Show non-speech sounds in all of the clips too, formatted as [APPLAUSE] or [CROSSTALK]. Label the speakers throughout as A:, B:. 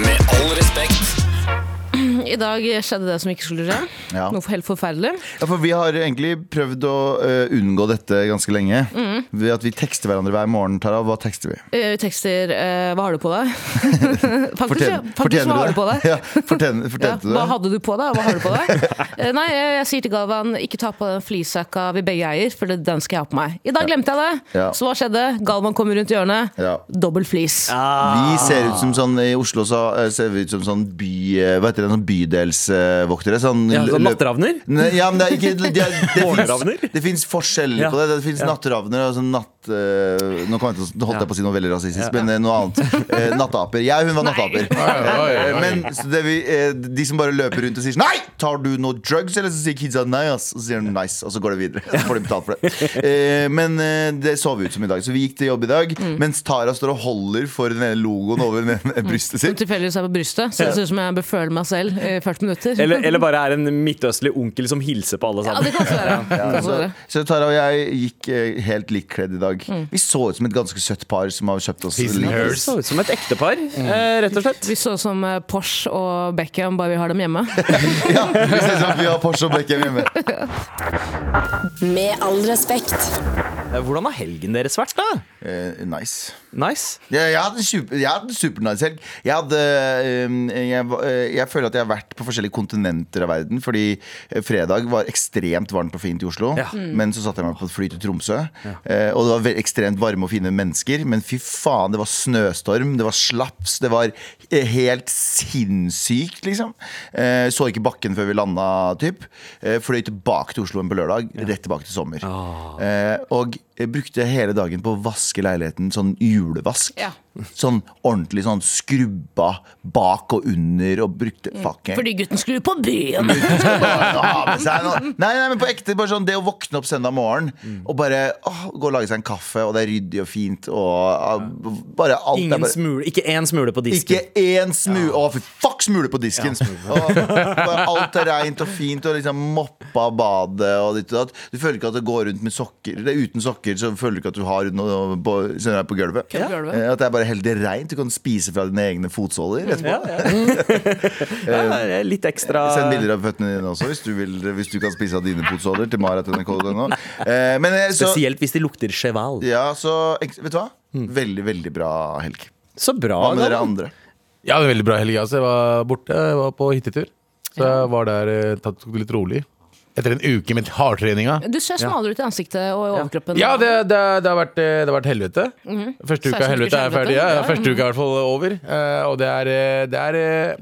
A: Med all respekt.
B: I dag skjedde det som ikke skulle skje.
C: Ja.
B: Noe helt forferdelig.
C: Ja, for Vi har egentlig prøvd å eh, unngå dette ganske lenge.
B: Mm.
C: Ved at vi tekster hverandre hver morgen. Tara, hva tekster vi?
B: Eh, Vi tekster eh, 'Hva har du på
C: [LAUGHS]
B: deg?' faktisk, ja. faktisk
C: Fortjen-
B: hva har du på deg?
C: [LAUGHS] Ja, fortjener,
B: Ja,
C: fortjente du
B: hva
C: det?
B: hadde du på deg? Hva har du på deg?
C: [LAUGHS]
B: Eh, Nei, jeg, jeg sier til Galvan ikke ta på den fleecejacka vi begge eier, for det- den skal jeg ha på meg. I dag glemte jeg det,
C: Ja.
B: så hva skjedde? Galvan kommer rundt hjørnet.
C: Ja.
B: Dobbel fleece.
D: Ah.
C: Vi ser ut som sånn I Oslo så eh, ser vi ut som sånn by... eh, Hva heter det? Sånn bydelsvoktere? Sånn,
D: Ja, sånn
C: lø-
D: natteravner?
C: Nei, ja, men det er ikke Det, er- det,
D: Morgenravner?
C: finnes- det fins forskjeller
D: Ja.
C: på det. Det fins natteravner og sånn natt... eh, nå kom jeg til, å- nå holdt jeg på å si noe veldig rasistisk, men eh, noe annet. Eh, nattaper. Jeg og hun var nattaper. Eh, Men så det vi, eh, de som bare løper rundt og sier sånn, Nei! Tar du noe drugs? Eller så sier kidsa nei, ass. Og så sier de nice, og så går det videre. Så får de betalt for det. Eh, Men eh, det så vi ut som i dag. Så vi gikk til jobb i dag, mens Tara står og holder for den ene logoen over den ene brystet
B: Som
C: sitt.
B: tilfeldigvis er på brystet, så det ser ut som jeg bør føle meg selv i 40 minutter.
D: Eller,
B: [LAUGHS]
D: eller bare er en midtøstlig onkel som hilser på alle
B: ja,
D: sammen.
B: det kan også være. Det kan også
C: Så,
B: være.
C: så Tara og jeg gikk eh, helt likt kledd i dag. Vi så ut som et ganske søtt par som har kjøpt oss
A: His and
C: litt-
A: hers.
D: Så ut som et ektepar, eh, rett og slett.
B: Vi så som eh, Porsche og Beckham, bare vi har dem
C: [LAUGHS]
B: hjemme.
C: [LAUGHS] Ja, vi ser ut som vi har Porsche og Beckham hjemme.
E: Med all respekt.
D: Eh, Hvordan har helgen deres vært, da?
C: Eh, nice.
D: Nice.
C: Jeg, jeg hadde en super, jeg hadde en supernice helg. Jeg, hadde, øhm, jeg, var- øh, jeg føler at jeg har vært på forskjellige kontinenter av verden. Fordi eh, fredag var ekstremt varmt og fint i Oslo.
D: Ja.
C: Men så satte jeg meg på et fly til Tromsø. eh, Og det var ve- ekstremt varme og fine mennesker. Men fy faen, det var snøstorm, det var slaps, det var eh, helt sinnssykt, liksom. Eh, Så ikke bakken før vi landa, typ. Eh, Fløy tilbake til Oslo igjen på lørdag. Rett tilbake til sommer. Eh, Og jeg brukte hele dagen på å vaske leiligheten, sånn julevask.
B: Ja.
C: Sånn ordentlig sånn skrubba bak og under og brukte fucking
B: Mm. Fordi sånn. gutten skulle på byen!
C: Ah, men så er det noe- Nei, nei, men på ekte, bare sånn det å våkne opp søndag morgen og bare åh, gå og lage seg en kaffe, og det er ryddig og fint, og ah, bare alt er
D: Ingen
C: bare
D: smule, ikke én smule på
C: ikke
D: disken.
C: én smule Å, fy fuck, smule på disken! Og bare alt er reint og fint, og liksom moppa badet og ditt og datt. Du føler ikke at det går rundt med sokker. Det er uten sokker så føler du ikke at du har noe på, sånn her på gulvet.
B: På gulvet.
C: Eh, At det er bare helt reint. Du kan spise fra dine egne fotsåler etterpå.
D: Ja, ja. ja, det er litt ekstra
C: Send bilder av føttene dine også, hvis du, vil, hvis du kan spise av dine fotsåler til marat.nrk.no. Eh, Men eh, så,
D: Spesielt Hmm. hvis de lukter cheval.
C: ja, så Vet du hva? Veldig, veldig bra helg.
D: Så bra.
C: Hva med dere
D: Galvan.
C: andre?
A: Ja, det er veldig bra helg. Altså. Jeg var borte, jeg var på hyttetur. Så jeg var der, eh, tatt- tok det litt rolig. Etter en uke med hardtreninga.
B: Du ser smalere ut i ansiktet og i overkroppen.
A: Ja, det, det, det, har vært, eh, det har vært helvete.
D: Mhm.
A: Første uka
B: 16
A: helvete er
B: ukers helvete.
A: ferdig. Ja,
B: Ja,
A: ja. Første uka er i hvert fall over. Eh, Og det er, eh, det er eh,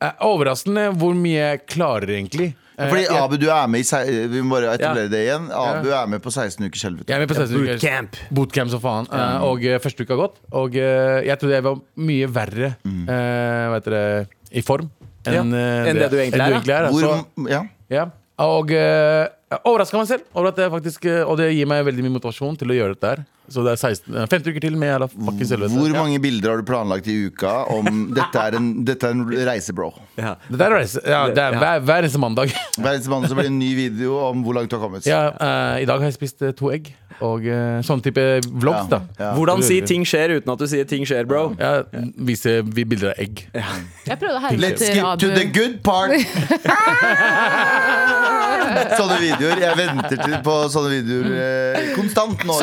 A: eh, overraskende hvor mye jeg klarer, egentlig. Eh,
C: Fordi
A: jeg,
C: Abu, du er med i se- Vi må bare etablere
D: Ja.
C: det igjen. Abu er med på 16 ukers helvete.
A: jeg er med på 16 uker.
D: Bootcamp.
A: Bootcamp som faen. Eh, Og eh, første uka har gått. Og eh, jeg trodde jeg var mye verre eh, hva heter det, i form
D: Ja,
A: enn eh,
D: enn det du egentlig
A: enn
D: er, da.
A: er. altså. da.
C: Hvor,
A: Så-
C: ja.
A: Ja, og uh, overraska meg selv. Over at jeg faktisk, eh, og det gir meg veldig mye motivasjon til å gjøre dette her. Så det er 16, eh, 50 uker til med jævla fuckings helvete.
C: Hvor
A: Ja.
C: mange bilder har du planlagt i uka
A: [LAUGHS]
C: om dette er en, dette er en reise, bro?
D: Ja.
A: Det, der er, reise- ja, det er hver, hver eneste mandag. [LAUGHS]
C: Hver eneste mandag så blir det en ny video om hvor langt du har kommet.
A: ja, eh, I dag har jeg spist eh, to egg og eh, sånn type vlogs,
C: Ja,
A: da.
C: ja.
D: Hvordan si 'ting skjer' uten at du sier 'ting skjer', bro?
A: Jeg viser vi bilder av egg.
B: Jeg prøvde å herme
C: Let's
B: etter
C: skip
B: Abu.
C: to the good part! [LAUGHS] sånne videoer. Jeg venter til på sånne videoer eh, konstant nå.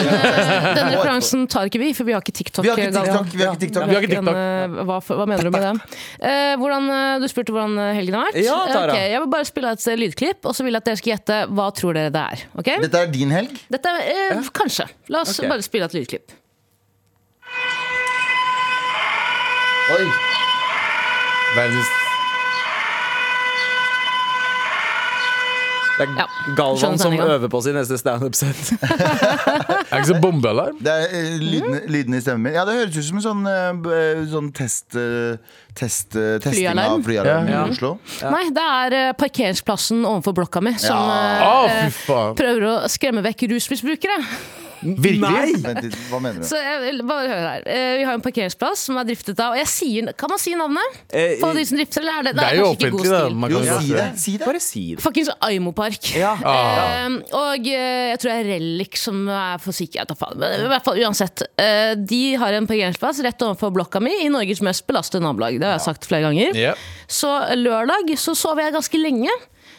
B: Den referansen tar ikke vi, for vi har ikke TikTok. eh,
C: Vi har ikke
B: Galvan.
C: TikTok. Vi har ikke TikTok.
A: Vi har ikke
B: Den,
A: TikTok.
B: eh, hva, hva mener du med det? Eh, hvordan, eh, du spurte hvordan eh, helgen har vært.
D: Ja, Tara.
B: Ok, jeg vil bare spille et eh, lydklipp, og så vil jeg at dere skal gjette hva tror dere det er. ok?
C: Dette er din helg.
B: Dette er eh, kanskje. La oss
D: Ok.
B: bare spille et lydklipp.
C: Oi.
A: Verdens
D: Det er
B: Ja, skjønner
D: Galvan som
B: sendinga.
D: øver på sin neste standup-sett.
A: Er ikke så
B: [LAUGHS]
A: bombealarm?
C: Det er eh, lyden,
B: Mm.
C: lyden i stemmen min. Ja, det høres ut som en sånn, eh, b- eh, sånn test, eh, test, eh, testing
B: Flyalarm.
C: av flyalarm
A: Ja.
C: i Oslo.
B: Nei, det er eh, parkeringsplassen overfor blokka mi som
C: Ja.
B: eh,
A: Å,
B: eh,
A: fy faen.
B: prøver å skremme vekk rusmisbrukere.
A: Virkelig?
C: Vent litt, hva mener du?
B: Så jeg vil bare høre her. Eh, Vi har en parkeringsplass som er driftet av og jeg sier, Kan man si navnet?
D: Eh,
B: På de som drifter, eller er det,
A: Det er jo
B: kanskje ikke god
A: offentlig, da.
B: stil.
A: Man
C: Jo,
A: kan
C: si det. Si det.
D: Bare si det.
B: Fuckings Aimopark. [LAUGHS]
D: Ja.
B: Eh, og eh, jeg tror det er Relic som er for syke. Jeg tar faen. Men i hvert fall uansett. eh, de har en parkeringsplass rett overfor blokka mi i Norges mest belastede nabolag. Det har jeg sagt flere ganger.
A: Ja.
B: Så eh, lørdag så sov jeg ganske lenge.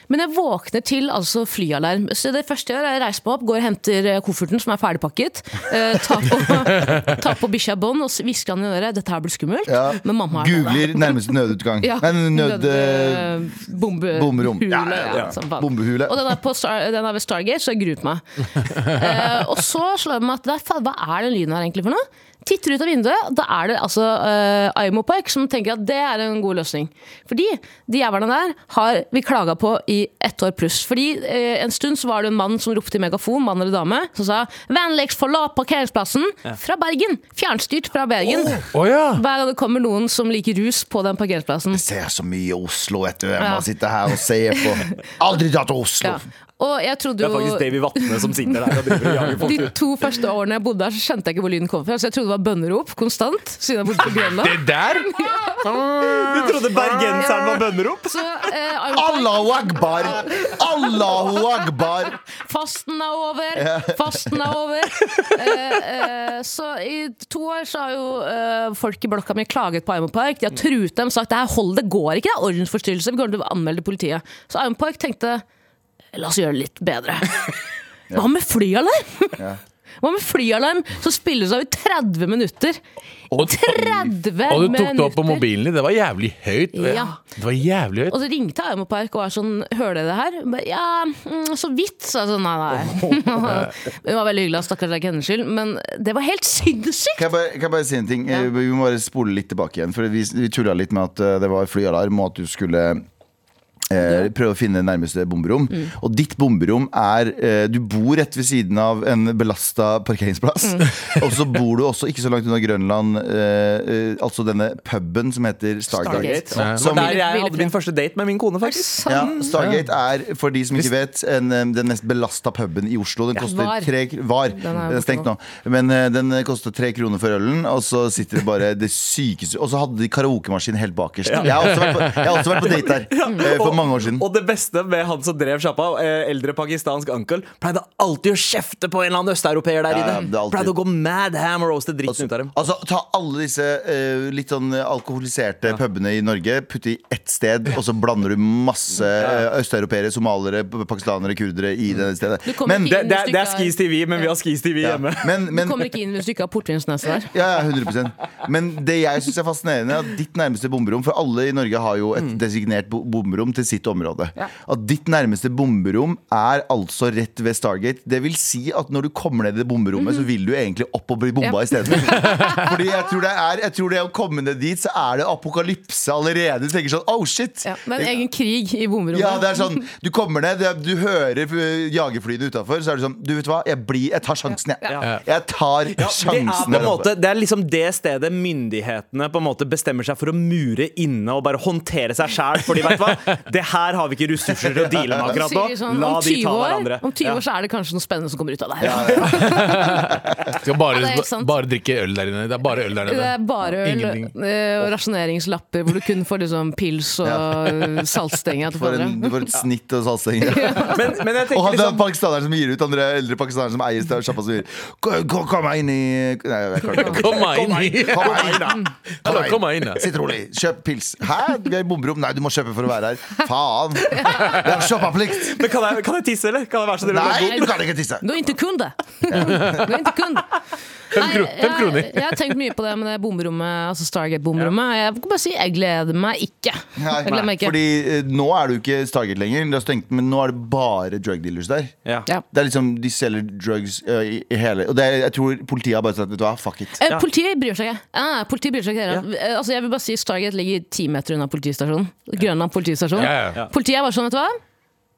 B: Men jeg våkner til altså flyalarm. Så det første jeg gjør, er å reise meg opp, går og henter eh, kofferten som er ferdigpakket. Eh, tar på, [LAUGHS] tar på bikkja bånd og s- hvisker han i øret. Dette her blir skummelt.
C: Ja.
B: Men mamma er
C: Googler nærmeste nødutgang.
B: ja,
C: Nei, nød... eh,
B: eh, bombe-
C: bomberom.
B: Hule,
C: Ja,
B: ja,
C: ja, ja.
B: sånn faen.
C: Bombehule.
B: Og den er, på Star, den er ved Stargate, så jeg gruer
C: [LAUGHS]
B: meg. Eh, og så slår det meg at der, faen, hva er den lyden her egentlig for noe? Titter ut av vinduet, da er det altså eh, Aimo Park som tenker at det er en god løsning. Fordi de jævlene der har vi klaga på i ett år pluss. Fordi eh, en stund så var det en mann som ropte i megafon, mann eller dame, som sa 'vennligst forlat parkeringsplassen' fra Bergen. Fjernstyrt fra Bergen.
A: Å ja.
B: Hver gang det kommer noen som liker rus på den parkeringsplassen.
C: Ser så mye Oslo, vet du. Jeg
B: Ja.
C: må sitte her og se på.
B: [LAUGHS]
C: Aldri dra til Oslo!
B: Ja. Og jeg trodde
D: Det er faktisk
B: jo
D: Davy Vatne som sitter der og driver og jager folk.
B: de to første årene jeg bodde her, så skjønte jeg ikke hvor lyden kom fra. Så jeg trodde det var bønnerop konstant. Siden jeg bodde på Grønland.
A: Det der?
D: Du trodde bergenseren var bønnerop?
B: Så eh, Iron Park,
C: Allahu akbar! Allahu akbar!
B: fasten er over! Fasten er over! Eh, eh, så i to år så har jo eh, folk i blokka mi klaget på Armopark. De har truet dem og sagt det her hold, det går ikke, det er ordensforstyrrelse, vi kommer til å anmelde politiet. Så Armopark tenkte la oss gjøre det litt
D: [LAUGHS]
B: bedre. Hva med flyalarm? Hva med flyalarm som spilles av i 30 minutter?
A: Og,
B: 30 minutter!
A: og du tok det opp på mobilen din. Det var jævlig høyt.
B: Ja.
A: Det var jævlig høyt.
B: Og så ringte jeg Ømo Park og var sånn Hører dere det her? Ba, Ja, mm, så vidt. Så jeg sånn, nei, nei. [LAUGHS] Hun var veldig hyggelig, og stakkars det er ikke hennes skyld, men det var helt sinnssykt!
C: Kan jeg, bare, kan jeg bare si en ting? Eh, Vi må bare spole litt tilbake igjen. For vi, vi tulla litt med at eh, det var flyalarm, og at du skulle eh, prøve å finne nærmeste bomberom. Og ditt bomberom er eh, Du bor rett ved siden av en belasta parkeringsplass. [LAUGHS] Og så bor du også ikke så langt unna Grønland, eh, eh, altså denne puben som heter Stargate.
B: Stargate.
D: Det var der jeg hadde min første date med min kone, faktisk.
B: Sånn.
C: Ja, Stargate er, for de som ikke vet, en, eh, den mest belasta puben i Oslo. Den koster
B: Var.
C: tre kr- Var.
B: er
C: Den er
B: borte
C: stengt nå.
B: nå.
C: Men eh, den eh, koster tre kroner for ølen, og så sitter det bare det sykeste Og så hadde de karaokemaskin helt bakerst. Jeg, har også vært på, jeg har også vært på date
D: [LAUGHS]
C: der eh, for
D: Og-
C: mange år siden.
D: Og det beste med han som drev sjappa, eh, eldre pakistansk uncle, pleide alltid å kjefte på en eller annen østeuropeer der
C: Ja, ja,
D: inne.
C: det er alltid-
D: pleide å gå mad ham og roaste dritten ut av dem.
C: Altså, Ta alle disse eh, litt sånn alkoholiserte pubene i Norge, putte i ett sted, og så blander du masse uh, østeuropeere, somaliere, p- pakistanere, kurdere i
D: Mm.
C: det stedet.
B: Du kommer
C: Men,
B: ikke
D: Det,
B: inn
D: det,
B: hvis du
D: det er
B: ikke
D: Skis TV, men vi har Skis TV
C: ja,
D: hjemme.
C: men,
B: Du
C: men
B: kommer ikke inn hvis du ikke har portvinsnese der.
C: Ja, ja, 100 Men det jeg syns er fascinerende, er at ditt nærmeste bomberom For alle i Norge har jo et designert bo- bomberom til sitt område. At ditt nærmeste bomberom er altså rett ved Stargate. Det vil si at når du kommer ned i det bomberommet, så vil du egentlig opp og bli bomba isteden. Fordi jeg tror, det er, jeg tror det å komme ned dit, så er det apokalypse allerede. Du tenker sånn oh shit.
B: Ja, det er en egen krig i bomrommet.
C: Ja, det er sånn, Du kommer ned, det er- du hører øh, jagerflyene utafor, så er det sånn Du vet hva, jeg, blir, jeg tar sjansen, jeg. Jeg tar
D: Det er, på
C: sjansen.
D: en
C: der oppe.
D: måte, det er liksom det stedet myndighetene på en måte bestemmer seg for å mure inne og bare håndtere seg sjæl. Fordi vet du hva,
C: [LAUGHS]
D: det her har vi ikke ressurser til å deale med akkurat nå.
B: Sier sånn,
D: La
B: om
D: de
B: 20
D: ta
B: år,
D: hverandre.
B: om 20
D: Ja.
B: år så er det kanskje noe spennende som kommer ut av det her.
A: Skal bare,
B: Ja, det er helt sant.
A: bare drikke øl der inne. Det er bare øl der
B: Det
A: inne.
B: er bare øl
A: Ingenting.
B: eh, og rasjoneringslapper hvor du kun får liksom pils og eh, saltstenger. til
C: For en,
B: hverandre.
C: du får et snitt og saltstenger.
D: Men, men jeg
C: Og han
D: tenker
C: liksom,
D: liksom
C: pakistaneren som gir ut andre eldre pakistanere som eier større sjappa, som sier «Kom- Kom kom meg inn i Nei, jeg kan ikke.
A: Kom meg inn. [LAUGHS]
C: Kom meg inn, da.
A: Hallo, kom meg inn, da.
C: Sitt rolig. Kjøp pils. Hæ? Vi er i bomberom. Nei, du må kjøpe for å være her. Faen. Det er shoppaplikt.
D: men kan, jeg, kan jeg tisse, eller? Kan jeg være så
C: Nei,
D: dere
C: du kan ikke tisse.
B: Du er ikke kunde! Du er ikke kunde.
A: Fem, kro
B: Nei,
A: fem kroner.
B: Jeg, jeg har tenkt mye på det med det bomrommet, altså Stargate-bomrommet. Jeg kan bare si jeg gleder meg ikke. Jeg gleder meg ikke.
C: Fordi eh, nå er du ikke Stargate lenger. Det er stengt, men nå er det bare drug dealers der.
D: Ja.
B: ja.
C: Det er liksom, De selger drugs eh, i, i hele Og det, er- jeg tror politiet har bare sagt vet du hva, fuck it.
B: Eh, Politiet bryr seg ikke. Nei, nei, politiet bryr seg ikke dere. Eh, Altså, jeg vil bare si Stargate ligger ti meter unna politistasjonen. Grønland politistasjon.
A: Ja, ja.
B: Politiet er bare sånn, vet du hva.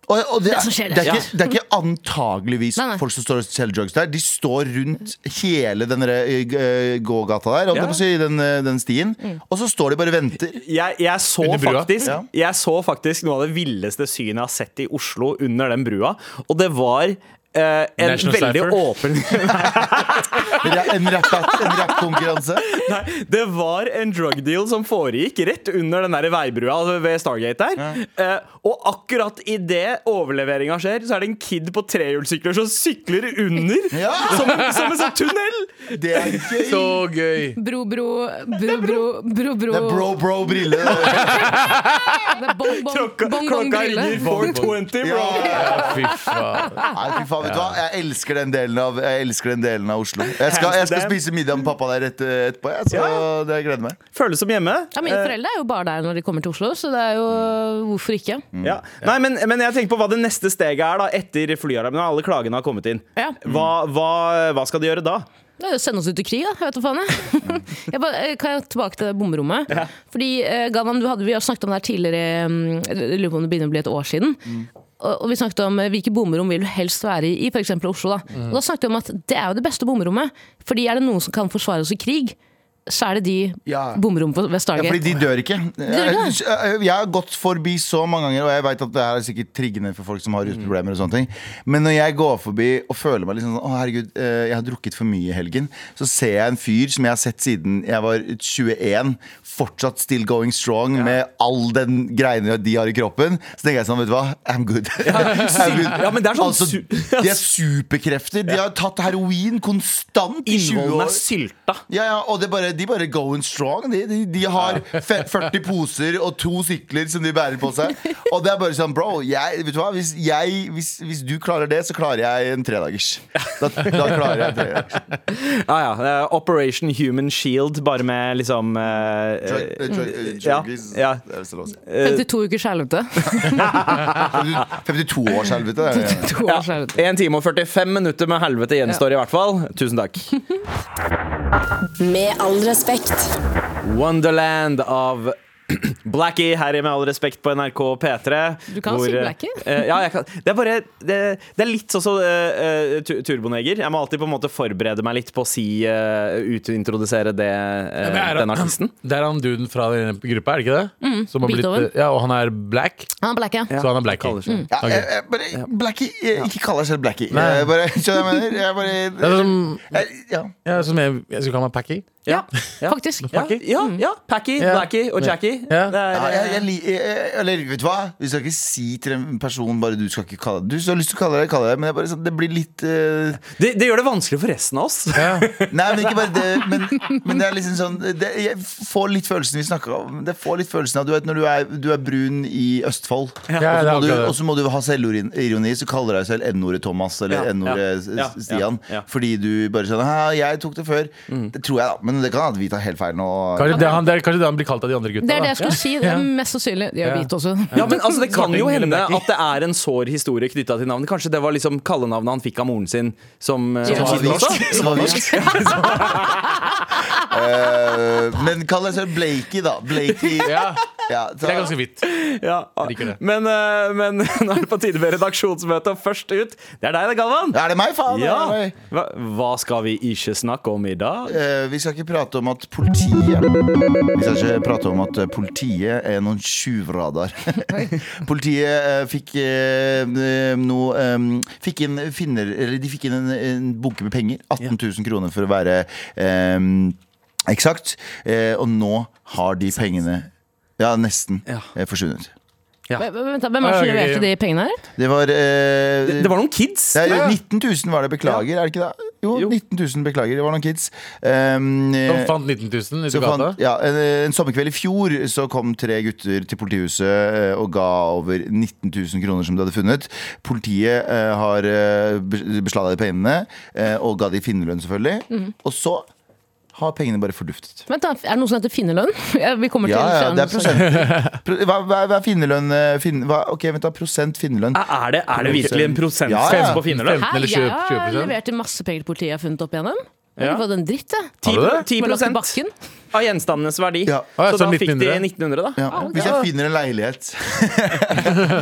C: Og, og
B: Det
C: det,
B: er
C: er
B: som skjer,
C: det, er
B: ja.
C: ikke, det er ikke antageligvis
B: Nei, nei.
C: folk som står og selger drugs der. De står rundt hele den derre, eh, gågata der, holdt jeg på å si, den, eh, den stien, og så står de bare og venter.
D: jeg, jeg, så
A: Under brua?
D: faktisk,
C: Ja.
D: jeg så faktisk noe av det villeste synet jeg har sett i Oslo under den brua. Og det var eh, eh, en
A: National
D: veldig
A: Cypher?
D: åpen [LAUGHS]
C: En rapp- en rappkonkurranse.
D: Nei, det var en drug deal som foregikk rett under den der veibrua altså ved Stargate der. Eh, og akkurat idet overleveringa skjer, så er det en kid på trehjulssykler som sykler under.
C: Ja.
D: Som, en- som en sånn tunnel!
C: Det er gøy.
A: Så gøy!
B: Bro, bro, bro, bro, bro,
C: Det er bro,
B: bro.
C: bro, brille.
B: Det er bong, bong,
D: [LAUGHS] Klokka,
B: bong, bong,
D: klokka
B: brille.
D: ringer 420, bro.
C: Ja.
A: Fy faen.
C: Nei, fy faen, vet du hva? Jeg elsker den delen av, jeg elsker den delen av Oslo. Jeg skal, jeg skal spise middag med pappa der et, eh, etterpå. Jeg, så det jeg gleder meg.
D: Føles som hjemme.
B: Ja, mine
D: Eh,
B: foreldre er jo bare der når de kommer til Oslo, så det er jo hvorfor ikke?
D: Mm. Ja. Nei, men, men jeg tenker på hva det neste steget er da etter flyalarmen. og Alle klagene har kommet inn.
B: Ja.
D: Hva, hva, hva skal de gjøre da?
B: Det er jo å sende oss ut i krig, da. Jeg vet hva faen jeg. [LAUGHS] jeg bare, eh, kan jeg tilbake til det bomberommet? Fordi, eh, Galvan, du hadde, vi har snakket om det her tidligere, mm, jeg lurer på om det begynner å bli et år siden. Og, og vi snakket om eh, hvilke bomberom vil du helst være i, i f.eks. Oslo. Da. Og da snakket vi om at det er jo det beste bomberommet. Fordi er det noen som kan forsvare oss i krig, så er det de
C: Ja.
B: bomberommene på- ved
C: Ja,
B: Stargate.
C: fordi de dør ikke.
B: dør
C: Jeg,
B: ikke,
C: jeg har gått forbi så mange ganger, og jeg vet at det her er sikkert triggende for folk som har rusproblemer. og sånne ting Men når jeg går forbi og føler meg liksom sånn Å, herregud, eh, jeg har drukket for mye i helgen. Så ser jeg en fyr som jeg har sett siden jeg var 21, fortsatt still going strong med all den greiene de har i kroppen. Så tenker jeg sånn, vet du hva, I'm good. [LAUGHS] I'm good.
D: Ja, men det er sånn
C: altså,
D: su-
C: De er superkrefter. De har tatt heroin konstant i 20
D: Innvollene
C: år.
D: er sylta.
C: Ja, ja, og det er bare, de bare going strong. De, de, de har fe- 40 poser og to sykler som de bærer på seg. Og det er bare sånn, bro, jeg, vet du hva? Hvis, jeg, hvis, hvis du klarer det, så klarer jeg en tredagers. Da, da klarer jeg en tredagers.
D: Ja, ja. eh, Operation Human Shield, bare med liksom [LAUGHS] eh,
C: Drug- eh, drug- eh,
D: Ja,
C: druggies,
D: ja.
C: det er så lov å si.
B: 52 ukers helvete. [LAUGHS]
C: 52 års helvete. det er-
B: 52 års
D: ja.
B: helvete.
D: 1 eh, time og 45 minutter med helvete gjenstår i hvert fall. Tusen takk.
E: Med all respekt.
D: Wonderland av [CLEARS THROAT] Blackie her i Med all respekt på NRK P3.
B: Du kan si Blackie.
D: eh, ja, jeg kan. Det er bare Det, det er litt sånn som eh, eh, tu- Turboneger. Jeg må alltid på en måte forberede meg litt på å si eh, ut- introdusere det, eh,
A: men er det-
D: den artisten.
A: Det er han duden fra den gruppa, er det ikke det?
B: Mm.
A: Som har blitt,
B: Beethoven.
A: ja, og han er black,
B: Han er black, ja.
A: så han er black.
D: Kaller
B: Mm.
D: seg.
C: Ja,
A: Ok.
C: jeg, jeg bare, Blackie, jeg, ikke kall deg selv Blackie.
A: Nei.
C: Jeg bare, skjønner du hva jeg mener? Jeg
A: Det er
C: bare,
A: som,
C: jeg, ja.
A: ja, som jeg, jeg skulle kalle meg Packy.
D: Ja.
B: Ja, faktisk.
D: Ja, ja, ja. Packy,
A: Ja.
D: Blackie og Jackie.
A: Ja.
D: Det er,
C: Ja, jeg, jeg, li- jeg, jeg, eller vet du hva? Vi skal ikke si til en person bare du skal ikke kalle deg Du har lyst til å kalle deg kalle deg, men det, er bare sånn, det blir litt eh,
D: det, det gjør det vanskelig for resten av oss.
C: Nei, men ikke bare det, men, men det er liksom sånn det, Jeg får litt følelsen vi snakker om. Det får litt følelsen av Du vet når du er, du er brun i Østfold,
A: Ja, det er
C: og du-
A: akkurat
C: og
A: det.
C: så må du ha selvironi, så kaller du deg selv N-ordet Thomas eller
D: Ja,
C: N-ordet
D: ja, ja,
C: Stian.
D: ja, Mm. ja.
C: Fordi du bare sånn Hæ, jeg tok det før. Det tror jeg, da. Men det kan at vi tar helt feil nå.
A: Kanskje det, er han, det er kanskje det han blir kalt av de andre gutta.
B: Det er det
A: da.
B: jeg skulle si. Det er mest sannsynlig. De er
A: Ja.
B: hvite også.
D: [LAUGHS] Ja, men altså, Det kan jo
A: Svarting eller
D: hende
A: blacking?
D: at det er en sår historie knytta til navnet. Kanskje det var liksom kallenavnet han fikk av moren sin som eh,
B: Som
C: var
D: kid også?
C: norsk.
D: Som var norsk. [LAUGHS]
C: Eh, men kall deg selv Blakey, da. Blakey.
A: Ja,
C: Ja, så-
A: det er ganske hvitt.
D: Ja.
A: liker det.
D: Men, eh, men [LAUGHS] nå er det på tide med redaksjonsmøte, og først ut, det er deg, det, Galvan.
C: Ja, Er det meg, faen?
D: Ja.
C: Det er meg.
D: Hva, hva skal vi ikke snakke om i dag?
C: Eh, vi skal ikke prate om at politiet Vi skal ikke prate om at eh, politiet er noen tjuvradar. politiet eh, fikk eh, eh, noe eh, Fikk inn finner Eller de fikk inn en, en bunke med penger. 18 000 kroner for å være eh, eksakt. Eh, og nå har de pengene Ja, nesten
D: Ja.
C: eh, forsvunnet.
B: Men- men Vent, da, hvem er det som
A: Ja, ok,
B: leverte
A: ja.
B: de pengene her?
C: Det var eh,
D: Det, det var noen kids.
C: Det er 19 000 var det, beklager. Er det ikke det? Jo,
D: Jo.
C: 19 000, beklager. Det var noen kids. Um,
A: De fant 19 000 ute
C: så
A: i gata.
C: fant, ja, en, en sommerkveld i fjor så kom tre gutter til politihuset eh, og ga over 19 000 kroner som de hadde funnet. Politiet eh, har eh, bes- beslaglagt pengene eh, og ga de finnerlønn, selvfølgelig. Og så har pengene bare forduftet.
B: Vent da, Er det noen som heter finnerlønn? [LAUGHS] Ja, Vi kommer til
C: Ja, ja, det er
B: skjermen.
C: prosent. Pro- Hva, hva, hva er finnerlønn? eh, Finn, hva, ok, vent da, prosent finnerlønn.
D: Er er det, er det virkelig en
C: Ja,
D: prosentsats
C: ja.
D: på finnerlønn?
A: 15
B: Hæ,
A: eller
B: sånn, jeg
A: 20,
B: har
A: 20
B: levert inn masse penger til politiet jeg har funnet opp igjennom. Jeg har
D: Ja.
B: ikke fått en dritt, jeg.
A: Har
D: 10
A: du det?
B: Bare lagt i
D: prosent
B: bakken.
D: av gjenstandenes verdi.
C: Ja.
A: Ah, ja,
D: Så
A: så
D: da fikk de
A: 1900.
D: 1900, da.
C: Ja. Hvis jeg finner en leilighet [LAUGHS]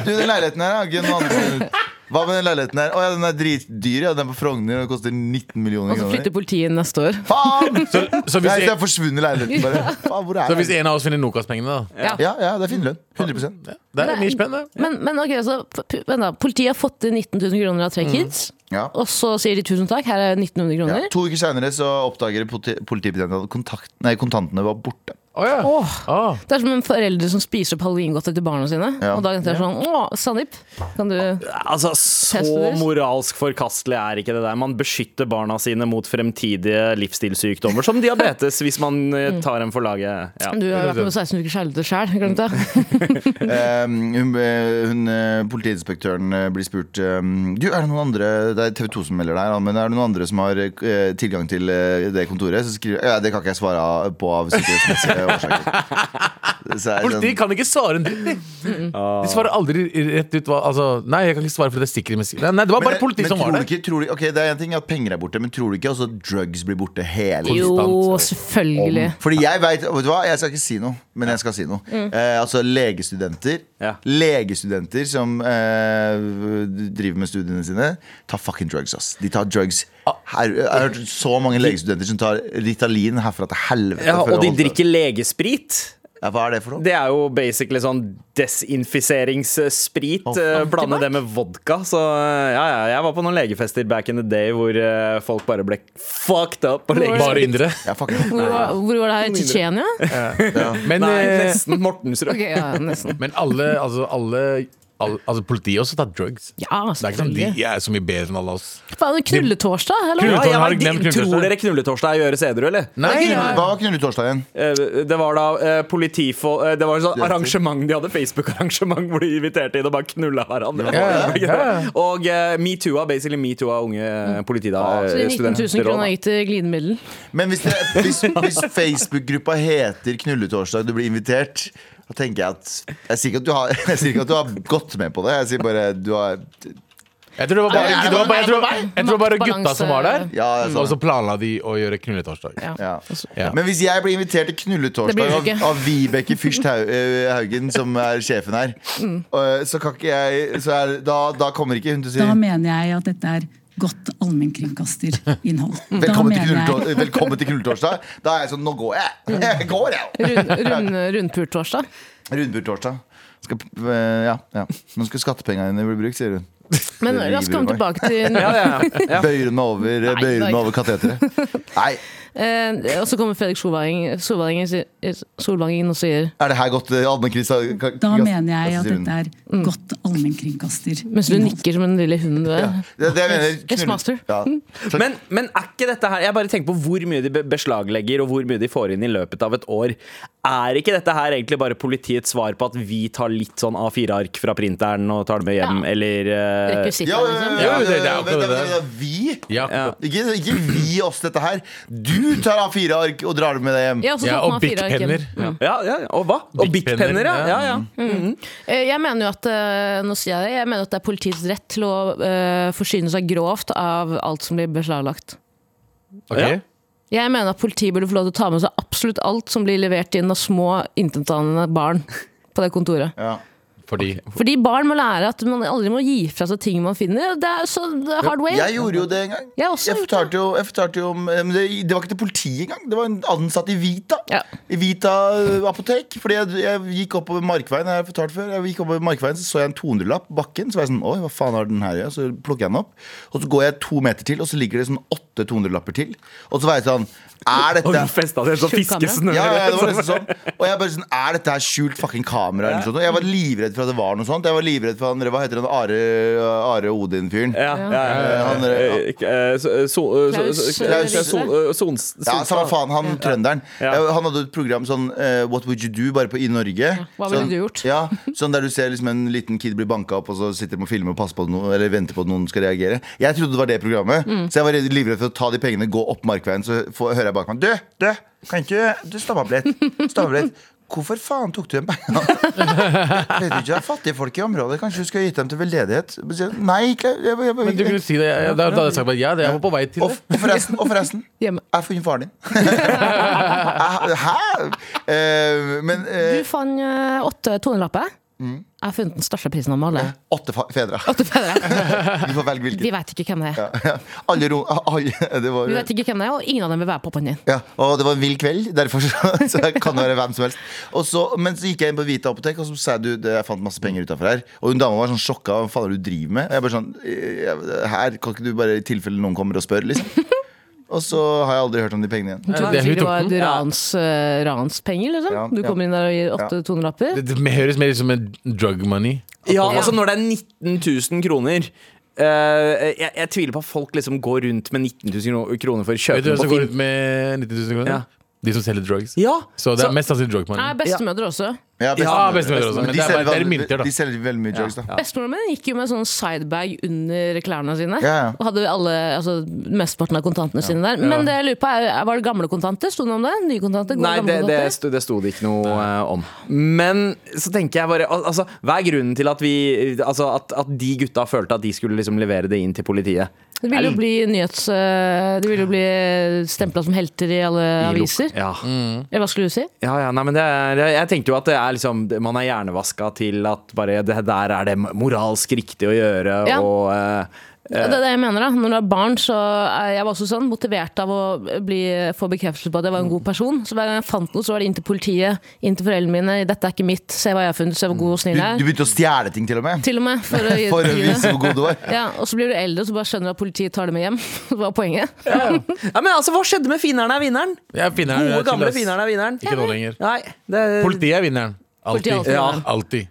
C: Du, den leiligheten her har ikke noen andre steder. Hva med den leiligheten her? Å ja, den er dritdyr, ja. Den er på Frogner og koster 19 millioner
B: Og så flytter
C: kroner.
B: politiet inn neste år.
C: Faen!
A: Så, så,
C: Nei,
A: hvis
C: det er
A: en,
C: forsvunnet leiligheten, bare. Faen, hvor
A: så
C: er
A: hvis
C: den?
A: en av oss finner Nokas-pengene, da.
C: Ja, ja, det er finnerlønn. 100
A: Det er
B: Nei.
A: mye spennende.
B: Men, men ok, så p- p- vent da. Politiet har fått inn 19 000 kroner av tre kids.
C: Mm. Ja.
B: Og så sier de tusen takk, her er 1900
C: Ja.
B: kroner.
C: To uker seinere oppdager politi- politibetjenten at kontakt, nei, kontantene var borte.
A: Å ja.
B: Åh.
A: Ah.
B: Det er som en forelder som spiser opp halloweengodter til barna sine.
C: Ja.
B: Og dagen etter er det sånn Å, Sandeep, kan du
D: Altså, Så
B: Testuders.
D: moralsk forkastelig er ikke det der. Man beskytter barna sine mot fremtidige livsstilssykdommer, som diabetes, hvis man eh, tar dem for laget. Ja.
B: Du har vært med på 16 uker kjærlighet sjæl, glemt det?
C: Eh, hun, eh, hun, eh, politiinspektøren eh, blir spurt eh, Du, er det noen andre Det er TV 2 som melder deg, da, men er det noen andre som har eh, tilgang til eh, det kontoret? Så skriver Ja, det kan ikke jeg svare på av
A: [LAUGHS]
C: sikkerhetsmessige årsaker. Så er det
A: Politiet
C: sånn,
A: kan ikke svare en dritt, de. De svarer aldri rett ut hva Altså, nei, jeg kan ikke svare fordi det er sikkerhetsmessig. Nei, nei, det var
C: men,
A: bare
B: eh,
A: politiet
C: men
A: som var
C: tror du
A: der.
C: ikke, tror du, ok, Det er en ting at penger er borte, men tror du ikke også at drugs blir borte hele
B: Jo,
A: Konstant.
B: selvfølgelig.
C: Fordi jeg vet, vet du hva, jeg skal ikke si noe, men jeg skal si noe.
A: Mm.
C: Eh, altså legestudenter
D: Ja.
C: Legestudenter som eh, driver med studiene sine, tar fucking drugs, ass. De tar drugs
D: Ah.
C: her, Jeg har hørt så mange legestudenter som tar Ritalin herfra til helvete.
D: Ja,
C: for å
D: og de
C: holde-
D: drikker legesprit.
C: ja, Hva er det for noe?
D: Det er jo basically sånn desinfiseringssprit. eh, blande det med vodka. Så eh, ja, ja, jeg var på noen legefester back in the day hvor eh, folk bare ble fucked up. på legesprit.
A: Bare indre.
C: Ja, fucking.
B: Hvor var, hvor var det her? Tsjetsjenia?
A: Men,
D: Nei,
A: eh,
D: nesten Mortensrud.
B: Ok, ja, nesten.
A: men alle, altså, alle alle- altså Politiet også tar drugs.
B: Ja,
A: Det er ikke sånn, De
B: selvfølgelig.
A: jeg er så mye bedre enn alle oss.
B: Faen, knulletorsdag, eller?
D: Ja,
A: Knulletorsdag,
D: jeg
A: har du
D: vet
A: glemt
D: ikke,
A: knulletorsdag?
D: tror dere knulletorsdag gjøres edru, eller?
A: Nei,
C: Hva var knulletorsdag igjen?
D: Eh, Det var da eh, politifol... eh, Det var et sånt arrangement de hadde, Facebook-arrangement, hvor de inviterte inn og bare knulla hverandre.
A: Ja,
D: [LAUGHS]
A: ja. Mm.
D: Og eh, metoo-a, basically metoo-a unge politida. eh,
B: Så de 19 000
D: studenter og-
B: kroner gikk til glidemiddel.
C: Men hvis, det- hvis, hvis
D: [LAUGHS]
C: Facebook-gruppa heter Knulletorsdag, du blir invitert Da tenker jeg at Jeg sier ikke at du har, [LAUGHS] jeg sier ikke at du har gått med på det. Jeg sier bare du har
A: Jeg tror det var bare,
B: Nei, nei,
A: det var bare, jeg tror,
B: nei, nei, nei.
A: jeg tror bare
B: Maktbalanse-
A: gutta som var der.
C: Ja, jeg sa
A: Og
C: det.
A: så planla de å gjøre knulletorsdag.
B: Ja.
C: Ja.
A: Ja.
C: Men hvis jeg blir
B: Det
C: invitert til
B: blir
C: knulletorsdag
B: du
C: av,
B: ikke.
C: av Vibeke Fyrst Hau- eh, Haugen, som er sjefen her,
F: Mm.
C: og, eh, så kan ikke jeg så er, da, da kommer ikke hun til å si
F: Da mener jeg at dette er godt allmennkringkasterinnhold. Da
C: Velkommen til,
F: mener jeg- Mm.
C: knulletorsdag, velkommen til knulletorsdag. Da er jeg sånn Nå går
F: [LAUGHS]
C: jeg! Jeg går, jeg!
B: Rund, rund, Rundpurtorsdag.
C: Rundbordtorsdag. Skal, p- eh, ja, ja. Nå skal skattepengene dine bli brukt, sier hun.
B: Men
C: Det
B: la oss komme
C: river meg.
B: tilbake til
D: [LAUGHS] Ja, ja, ja.
C: Bøyer hun meg over,
B: Nei,
C: bøyer hun meg
B: nei.
C: over
F: [LAUGHS]
C: kateteret? Nei,
B: eh, Og så kommer Fredrik Solvang- Solvangen Solvangen og sier
C: er det her godt? eh, Anne Kristian
F: Da mener jeg at
C: sier hun.
F: dette er godt allmennkringkasterinnhold.
B: Mens du nikker som en lille hund. du er.
C: Det, det jeg mener,
B: Yes, master.
F: [LAUGHS]
C: Ja.
D: Men, men er ikke dette her Jeg bare tenker på hvor mye de be- beslaglegger, og hvor mye de får inn i løpet av et år. Er ikke dette her egentlig bare politiets svar på at vi tar litt sånn A4-ark fra printeren og tar det med hjem,
B: Ja.
D: eller eh,
B: Rekvisitter,
C: Ja, ja,
B: liksom.
C: ja, ja,
A: Jo, det- det er
C: ja,
A: akkurat
C: vent,
A: det
C: vent,
A: der.
C: vent, Vi?
A: Ja.
D: Ja.
C: Ikke, ikke vi oss dette her. Du tar av fire ark og drar det med deg hjem.
B: Jeg, har også
A: ja,
B: tatt
A: og
B: meg av fire ark hjem.
A: bikpenner.
D: Ja, ja, og hva? Og
A: Bic-penner,
D: bitpenner, ja. ja,
A: ja.
D: ja.
B: Eh, jeg mener jo at eh, Nå sier jeg det Jeg mener at det er politiets rett til å eh, forsyne seg grovt av alt som blir beslaglagt.
A: Ok.
D: Ja.
B: Jeg mener at politiet burde få lov til å ta med seg absolutt alt som blir levert inn av små intetanende barn på det kontoret.
C: Ja.
A: Fordi
B: Fordi barn må lære at man aldri må gi fra seg ting man finner. Det er så det er hard way.
C: Jeg gjorde jo det en gang.
B: Jeg har også gjort
C: fortalte jo, jeg fortalte jo om eh, men det, det var ikke til politiet engang. Det var en ansatt i Vita.
B: Ja.
C: I Vita eh, apotek. Fordi jeg, jeg gikk oppover Markveien. Jeg har fortalt før Jeg gikk oppover Markveien Så så jeg en 200-lapp på bakken. Så var jeg sånn Oi, hva faen har den her å gjøre? Så plukker jeg den opp. Og så går jeg to meter til, og så ligger det sånn åtte 200-lapper til. Og så var jeg sånn Er
D: Og
C: dette
D: du festa det som
B: Skjult
D: fiskesnøre.
C: Ja, ja, det
D: liksom.
C: var nesten sånn Og jeg bare sånn, er dette her skjult fucking kamera? Eller noe sånt? Og jeg var livredd for at det var noe sånt. Jeg var livredd for han, hva heter han, Are, Are Odin-fyren.
D: Ja, ja, ja, ja.
C: Eh, han, eh,
D: Eh, eh, so- so- so-
B: Klaus,
D: so-
B: eh,
D: Klaus, eh, so- eh, Sons-
C: Ja,
D: Sonstad.
C: samme faen, han trønderen.
D: Ja.
C: Eh, Han hadde et program sånn eh, What Would You Do, bare på i Norge.
B: hva ville
C: sånn,
B: du gjort?
C: Ja, sånn der du ser liksom en liten kid bli banka opp, og så sitter de og filmer og passer på at noen, eller venter på at noen skal reagere. Jeg trodde det var det programmet, så jeg var redd- livredd for å ta de pengene, gå opp Markveien, så får, hører jeg bak meg Du, du, kan ikke du stoppe opp litt? Stopp opp litt. Hvorfor faen tok du igjen beina? Vet du ikke det er fattige folk i området? Kanskje du skulle gitt dem til veldedighet? Så sier jeg, Nei, Klau, jeg, jeg, jeg,
A: Men du kunne si det. jeg- Da da hadde jeg sagt bare ja, det- jeg var på vei til
C: og,
A: det.
C: og forresten, og forresten
B: Hjemme.
C: jeg har funnet faren din. [LAUGHS] Hæ? Eh, men eh,
B: Du fant eh, åtte tonelapper.
C: Mm.
B: er funnet den største prisen av alle.
C: Åtte fa- fedre.
B: Åtte
C: [LAUGHS]
B: fedre.
C: Du får velge hvilken.
B: Vi veit ikke hvem det er.
C: Alle [LAUGHS] rom alle, det, var,
B: Vi vet ikke hvem det er, Og ingen av dem vil være pappaen din.
C: ja, og det var en vill kveld, derfor så, [LAUGHS] så det kan det være hvem som helst. Og så, men så gikk jeg inn på Vita apotek, og så sa jeg, du det- jeg fant masse penger utenfor her. Og hun dama var sånn sjokka. Hva faen er det du driver med? Og jeg bare sånn «Eh, Her kan ikke du bare i tilfelle noen kommer og spør, liksom. Og så har jeg aldri hørt om de pengene igjen.
B: Du tror
A: det er
B: sikkert det var
A: Hutorten.
B: rans, eh, ranspenger, liksom.
C: Ja,
B: Du
C: ja.
B: kommer inn der og gir åtte 200-lapper.
A: Det, det høres mer ut som en drug money.
D: Ja, altså når det er 19 000 kroner eh, jeg, jeg tviler på at folk liksom går rundt med 19 000 kro- kroner for å
A: Vet
D: kjøpe
A: du
D: den
A: hvem som
D: på
A: går
D: Finn.
A: ut med 90 000 kroner?
D: Ja.
A: De som selger drugs.
D: Ja,
A: Så det
D: så-
A: er mest sannsynlig drug money.
B: Nei, bestemødre også.
C: Ja,
A: Ja, bestemødre også,
C: Men
A: men
C: de
A: det er bare-
C: selger
A: det er
C: vel-
A: mynter, da.
C: De selger veldig mye drugs, da.
B: Bestemoren min gikk jo med sånn sidebag under klærne sine.
C: Ja, ja.
B: Og hadde alle, altså mesteparten av kontantene sine der. Men det jeg lurer på er, var det gamle kontanter? Sto det noe om det? Nye kontanter? Gode
D: Nei,
B: gamle
D: det, det,
B: kontanter?
D: sto, det sto det ikke noe eh, om. Men så tenker jeg bare al- altså, Hva er grunnen til at, vi, altså, at, at de gutta følte at de skulle liksom levere det inn til politiet?
B: Det ville jo bli nyhets... eh, Det ville jo bli stempla som helter i alle
D: I lok-
B: aviser.
D: Ja. Eh.
B: Eller hva skulle du si?
D: Ja, ja, nei, men det er, jeg tenkte jo at det er liksom Man er hjernevaska til at bare det der er det moralsk riktig å gjøre,
B: Ja.
D: og eh,
B: Ja, Det er det jeg mener. da Når du er barn, så er jeg var også sånn motivert av å bli, få bekreftelse på at jeg var en god person. Så hver gang jeg fant noe, så var det inn til politiet, inn til foreldrene mine. 'Dette er ikke mitt. Se hva jeg har funnet. Se hvor god og
C: Du,
B: snill jeg
C: du
B: er.'
C: begynte å stjele ting, til og med.
B: Til og med. For å gi,
C: For å
B: gi det.
C: vise hvor god du var.
B: Ja, Og så blir du eldre og så bare skjønner du at politiet tar det med hjem. [LAUGHS] Det var poenget. [LAUGHS]
D: Ja, men altså, hva skjedde med finneren er vinneren?
A: Jeg er finneren, jeg
D: Gode,
A: er
D: gamle
A: chill, ass.
D: finneren er vinneren.
A: Ikke nå lenger.
D: Nei, det er
A: Politiet er vinneren.
B: Politiet er alltid
A: Alltid.
B: vinneren.
A: Alltid.